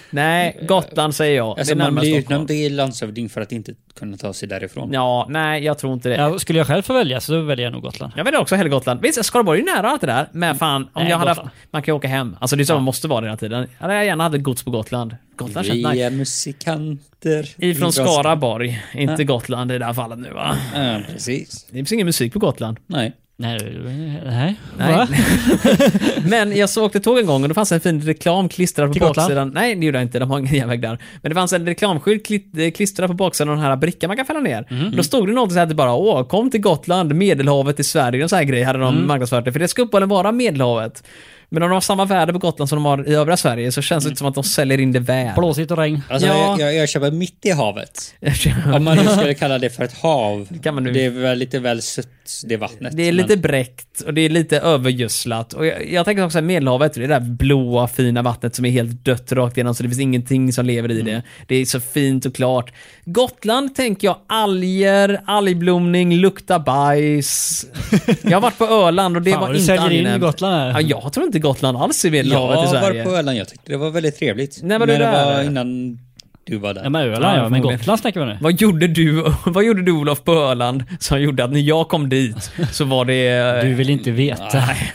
Speaker 2: Nej, Gotland säger jag.
Speaker 1: alltså,
Speaker 2: det är
Speaker 1: man
Speaker 2: närmast
Speaker 1: blir
Speaker 2: Stockholm.
Speaker 1: utnämnd till landshövding för att inte kunna ta sig därifrån.
Speaker 2: Ja, nej, jag tror inte det.
Speaker 4: Ja, skulle jag själv få välja så väljer jag nog Gotland.
Speaker 2: Jag väljer också hellre Gotland. Visst, Skaraborg är ju nära allt det där, men fan, om
Speaker 4: Nej,
Speaker 2: jag hade haft,
Speaker 4: Gotland.
Speaker 2: Man kan ju åka hem. Alltså det är så man måste vara den här tiden. Jag hade gärna haft ett gods på Gotland. Gotland
Speaker 1: Vi
Speaker 2: känns nice.
Speaker 1: är musikanter.
Speaker 2: Ifrån
Speaker 1: Vi drar-
Speaker 2: Skaraborg, inte Gotland i det här fallet nu va?
Speaker 1: Ja, precis.
Speaker 2: Det finns ingen musik på Gotland.
Speaker 1: Nej.
Speaker 4: Nej, nej.
Speaker 2: Nej.
Speaker 4: Va?
Speaker 2: Men jag så åkte tåg en gång och då fanns en fin reklam klistrad på
Speaker 4: Till Gotland?
Speaker 2: baksidan. Nej, det gjorde jag inte. De har ingen järnväg där. Men det fanns en reklamskylt kli- eh, klistrad på baksidan av den här brickan man kan fälla ner.
Speaker 4: Mhm.
Speaker 2: Då stod det någonting så här typ bara åh, kom till Gotland, Medelhavet i Sverige och så här grej hade
Speaker 4: Mm.
Speaker 2: de marknadsfört det. För det ska uppehålligen vara Medelhavet. Men om de har samma värde på Gotland som de har i övriga Sverige så
Speaker 4: Mm.
Speaker 2: känns det inte som att de säljer in det väl.
Speaker 4: Blåsigt och regn.
Speaker 1: Alltså,
Speaker 2: Ja.
Speaker 1: jag, jag, jag köper mitt i havet. Om man nu skulle kalla det för ett hav. Det,
Speaker 2: kan man nu-
Speaker 1: är väl lite väl sött, det vattnet.
Speaker 2: Det är
Speaker 1: men-
Speaker 2: lite bräckt och det är lite övergödslat. Och jag, jag tänker också att Medelhavet, det där blåa fina vattnet som är helt dött rakt igenom så det finns ingenting som lever i det.
Speaker 4: Mm.
Speaker 2: Det är så fint och klart. Gotland tänker jag alger, algblomning, lukta bajs. jag har varit på Öland och det
Speaker 4: Fan,
Speaker 2: var
Speaker 4: vad du
Speaker 2: inte
Speaker 4: säljer in
Speaker 2: angenämt.
Speaker 4: Gotland
Speaker 2: Ja,
Speaker 4: här.
Speaker 2: jag tror inte Gotland alls är Medelhavet i
Speaker 1: Jag
Speaker 2: Sverige.
Speaker 1: var på Öland, jag tyckte det var väldigt trevligt.
Speaker 2: Nej, men
Speaker 1: men
Speaker 2: det
Speaker 1: det,
Speaker 2: där-
Speaker 1: var innan du var där.
Speaker 4: Ja, men Öland ja, men Gotland snackar vi nu.
Speaker 2: Vad gjorde, du, vad gjorde du Olof på Öland som gjorde att när jag kom dit så var det... eh,
Speaker 4: Du vill inte veta.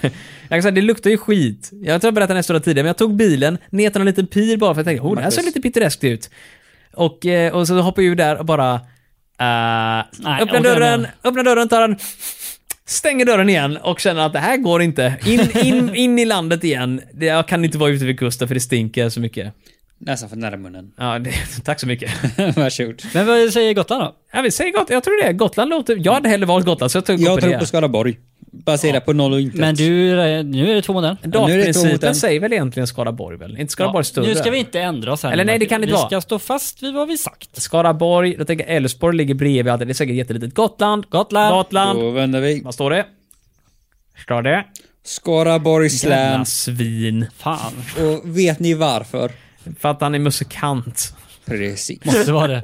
Speaker 2: Jag kan säga, det luktar ju skit. Jag tror jag berättade den här historien tidigare, men jag tog bilen ner till en liten pir bara för att jag tänkte, oh, det här ser
Speaker 1: Marcus.
Speaker 2: lite pittoreskt ut. Och, eh, och så hoppar jag ju där och bara... eh, öppnar
Speaker 4: och
Speaker 2: dörren,
Speaker 4: dörren.
Speaker 2: öppnar dörren, tar den, stänger dörren igen och känner att det här går inte. In, in, in i landet igen. Det- Jag kan inte vara ute vid kusten för det stinker så mycket.
Speaker 1: Nästan för nära munnen.
Speaker 2: Ja, det, tack så mycket.
Speaker 1: Varsågod.
Speaker 4: Men vad säger Gotland då?
Speaker 2: Ja, vi säger gott, jag tror det. Gotland låter... Jag hade hellre valt Gotland, så jag tog
Speaker 1: Jag
Speaker 2: på
Speaker 1: tror
Speaker 2: det.
Speaker 1: på Skaraborg. Baserat på noll och intet.
Speaker 4: Men du, nu är det två mot en.
Speaker 1: nu är det ett år mot
Speaker 2: Dagprincipen
Speaker 1: en.
Speaker 2: säger väl egentligen Skaraborg väl? Inte Skaraborg större?
Speaker 4: Nu ska vi inte ändra oss här.
Speaker 2: Eller
Speaker 4: nu,
Speaker 2: nej, det
Speaker 4: Martin.
Speaker 2: kan det inte
Speaker 4: Vi
Speaker 2: vara.
Speaker 4: ska stå fast vid vad vi sagt.
Speaker 2: Skaraborg, då tänker jag Älvsborg ligger bredvid allt. Det är säkert jättelitet. Gotland.
Speaker 4: Gotland.
Speaker 2: Gotland.
Speaker 1: Då vänder vi.
Speaker 2: Vad står det? Står det?
Speaker 1: Skaraborgs län.
Speaker 2: Jävla svin.
Speaker 4: Fan,
Speaker 1: Och vet ni varför?
Speaker 2: För att han är musikant.
Speaker 1: Precis.
Speaker 4: måste vara det.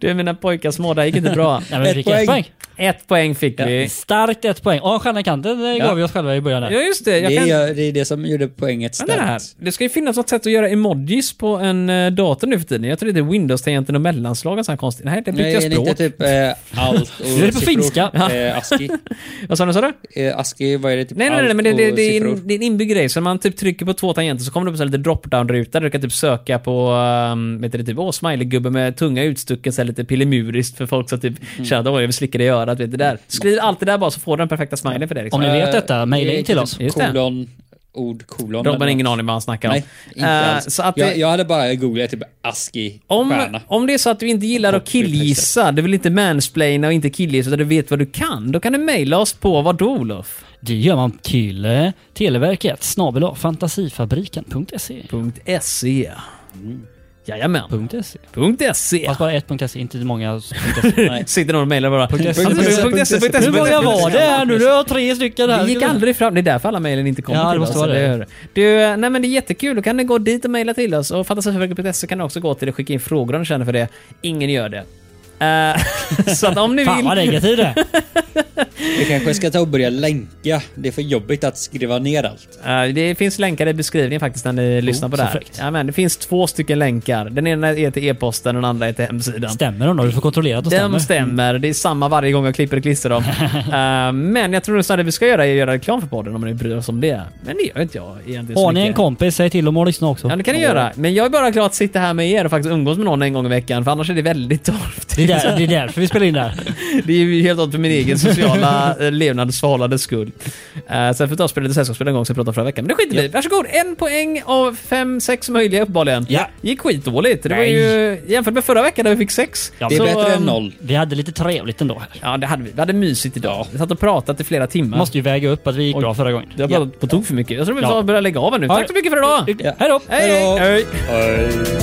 Speaker 2: Du mina pojkar små, det här gick inte bra.
Speaker 4: Nej, men vi
Speaker 1: Ett
Speaker 4: fick ett
Speaker 1: poäng.
Speaker 4: poäng.
Speaker 2: Ett poäng fick vi.
Speaker 4: Starkt ett poäng. Ja, stjärna i kanten det
Speaker 2: Ja.
Speaker 4: gav vi oss själva i början där.
Speaker 2: Ja, just det. Jag
Speaker 1: Det
Speaker 2: kan...
Speaker 1: är, det är det som gjorde poänget
Speaker 2: Men det, här,
Speaker 1: starkt.
Speaker 2: det ska ju finnas något sätt att göra emojis på en eh, dator nu för tiden. Jag tror det är Windows-tangenten och mellanslag och sånt konstigt. Nej, det bytte
Speaker 1: Nej,
Speaker 2: jag
Speaker 1: är det
Speaker 2: språk.
Speaker 1: inte typ eh, allt och
Speaker 4: Det är på
Speaker 1: siffror?
Speaker 4: finska.
Speaker 1: Eh, ASCII.
Speaker 2: Vad sa du? Sa du?
Speaker 1: Eh, ASCII, vad är det? Typ
Speaker 2: Nej, nej,
Speaker 1: allt
Speaker 2: nej, men det, det,
Speaker 1: och
Speaker 2: det, är
Speaker 1: siffror?
Speaker 2: en, det är en inbyggd grej. Så när man typ trycker på två tangenter så kommer det upp en sån här liten drop-down-ruta där du kan typ söka på, um, vet du det, typ, åh, smiley-gubbe med tunga utstucken, så här lite pillemuriskt för folk som typ
Speaker 1: Mm.
Speaker 2: känner att åh, jag vill slicka dig i örat, vet du där. Skriv allt det där bara så får du den perfekta smileyn för det. Liksom.
Speaker 4: Om ni vet detta, mejla
Speaker 1: Eh,
Speaker 4: in till oss.
Speaker 2: Just det.
Speaker 1: Kolon, ord, kolon.
Speaker 2: Robban har
Speaker 1: eller
Speaker 2: ingen
Speaker 1: något.
Speaker 2: aning vad han snackar om.
Speaker 1: Nej, inte
Speaker 2: Eh,
Speaker 1: alls.
Speaker 2: Så att det,
Speaker 1: jag, jag hade bara googlat typ ASCII,
Speaker 2: Om,
Speaker 1: stjärna.
Speaker 2: om det är så att du inte gillar att
Speaker 1: Copy-paste.
Speaker 2: killgissa, du vill inte mansplaina och inte killgissa utan du vet vad du kan, då kan du mejla oss på vad då Olof?
Speaker 4: Det gör man till eh, Televerket snabel fantasifabriken.se.
Speaker 2: .se E.
Speaker 1: Mm.
Speaker 2: Jajamän.
Speaker 4: .se.
Speaker 2: Punkt E. .se
Speaker 4: Fast bara ett .se, inte många.
Speaker 1: Nej.
Speaker 2: Sitter någon och mejlar bara.
Speaker 1: .se.
Speaker 2: Alltså, punkt .se, punkt .se, punkt .se.
Speaker 4: Hur många var det här nu? Du har tre stycken här.
Speaker 2: Vi gick aldrig fram, det är därför alla mejlen inte kommer
Speaker 4: Ja, det
Speaker 2: till
Speaker 4: måste
Speaker 2: oss.
Speaker 4: vara det.
Speaker 2: eller hur? Du, nej men det är jättekul, då kan ni gå dit och mejla till oss. Och fantasifabriken.se kan ni också gå till och skicka in frågor om ni känner för det. Ingen gör det. Eh, så att om ni
Speaker 4: Fan vad
Speaker 2: vill...
Speaker 4: negativ det är.
Speaker 1: Vi kanske ska ta och börja länka. Det är för jobbigt att skriva ner allt.
Speaker 2: Eh, Det finns länkar i beskrivningen faktiskt när
Speaker 4: Oh,
Speaker 2: ni lyssnar på det
Speaker 4: så
Speaker 2: här.
Speaker 4: fräckt.
Speaker 2: Ja, men, det finns två stycken länkar. Den ena är till e-posten och den andra är till hemsidan.
Speaker 4: Stämmer de då? Du får kontrollera att de
Speaker 2: De
Speaker 4: stämmer. Mm.
Speaker 2: stämmer. Det är samma varje gång jag klipper och klistrar dem. Eh, men jag tror nästan det vi ska göra är att göra reklam för podden om ni bryr oss om det. Men det gör inte jag egentligen så
Speaker 4: Har ni en
Speaker 2: mycket.
Speaker 4: kompis, säg till dem att lyssna också.
Speaker 2: Ja, det kan ni göra. Men jag är bara glad att sitta här med er och faktiskt umgås med någon en gång i veckan, för annars är det väldigt torrt.
Speaker 4: Det är, där, det är därför vi spelar in där.
Speaker 2: Det är ju helt åt för min egen sociala eh, levnadsförhållandes skull. Uh, sen får vi ta och spela lite sällskapsspel en gång som vi pratade om förra veckan. Men det skiter vi i. Varsågod, en poäng av fem, sex möjliga uppenbarligen.
Speaker 4: Ja.
Speaker 2: gick skitdåligt. Det var ju jämfört med förra veckan där vi fick sex.
Speaker 4: Ja,
Speaker 1: Det är
Speaker 4: Så, eh,
Speaker 1: bättre
Speaker 2: ehm,
Speaker 1: än noll.
Speaker 4: Vi hade lite trevligt ändå här.
Speaker 2: Ja, det hade vi. Vi hade mysigt idag. Vi satt och pratat i flera timmar.
Speaker 4: Måste ju väga upp att vi gick
Speaker 2: Oj.
Speaker 4: bra förra gången.
Speaker 2: Jag har pratat på tok för mycket. Jag tror vi får
Speaker 4: Ja.
Speaker 2: börja lägga av nu.
Speaker 4: Ja.
Speaker 2: Tack så mycket för idag!
Speaker 1: Ja.
Speaker 4: Hej då!
Speaker 2: Hej, hej!
Speaker 1: Hej då.
Speaker 2: hej.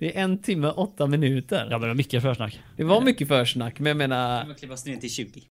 Speaker 2: Det är en timme och åtta minuter.
Speaker 4: Ja men det var mycket försnack.
Speaker 2: Det var mycket försnack, men jag menar...
Speaker 1: klippats ner till 20.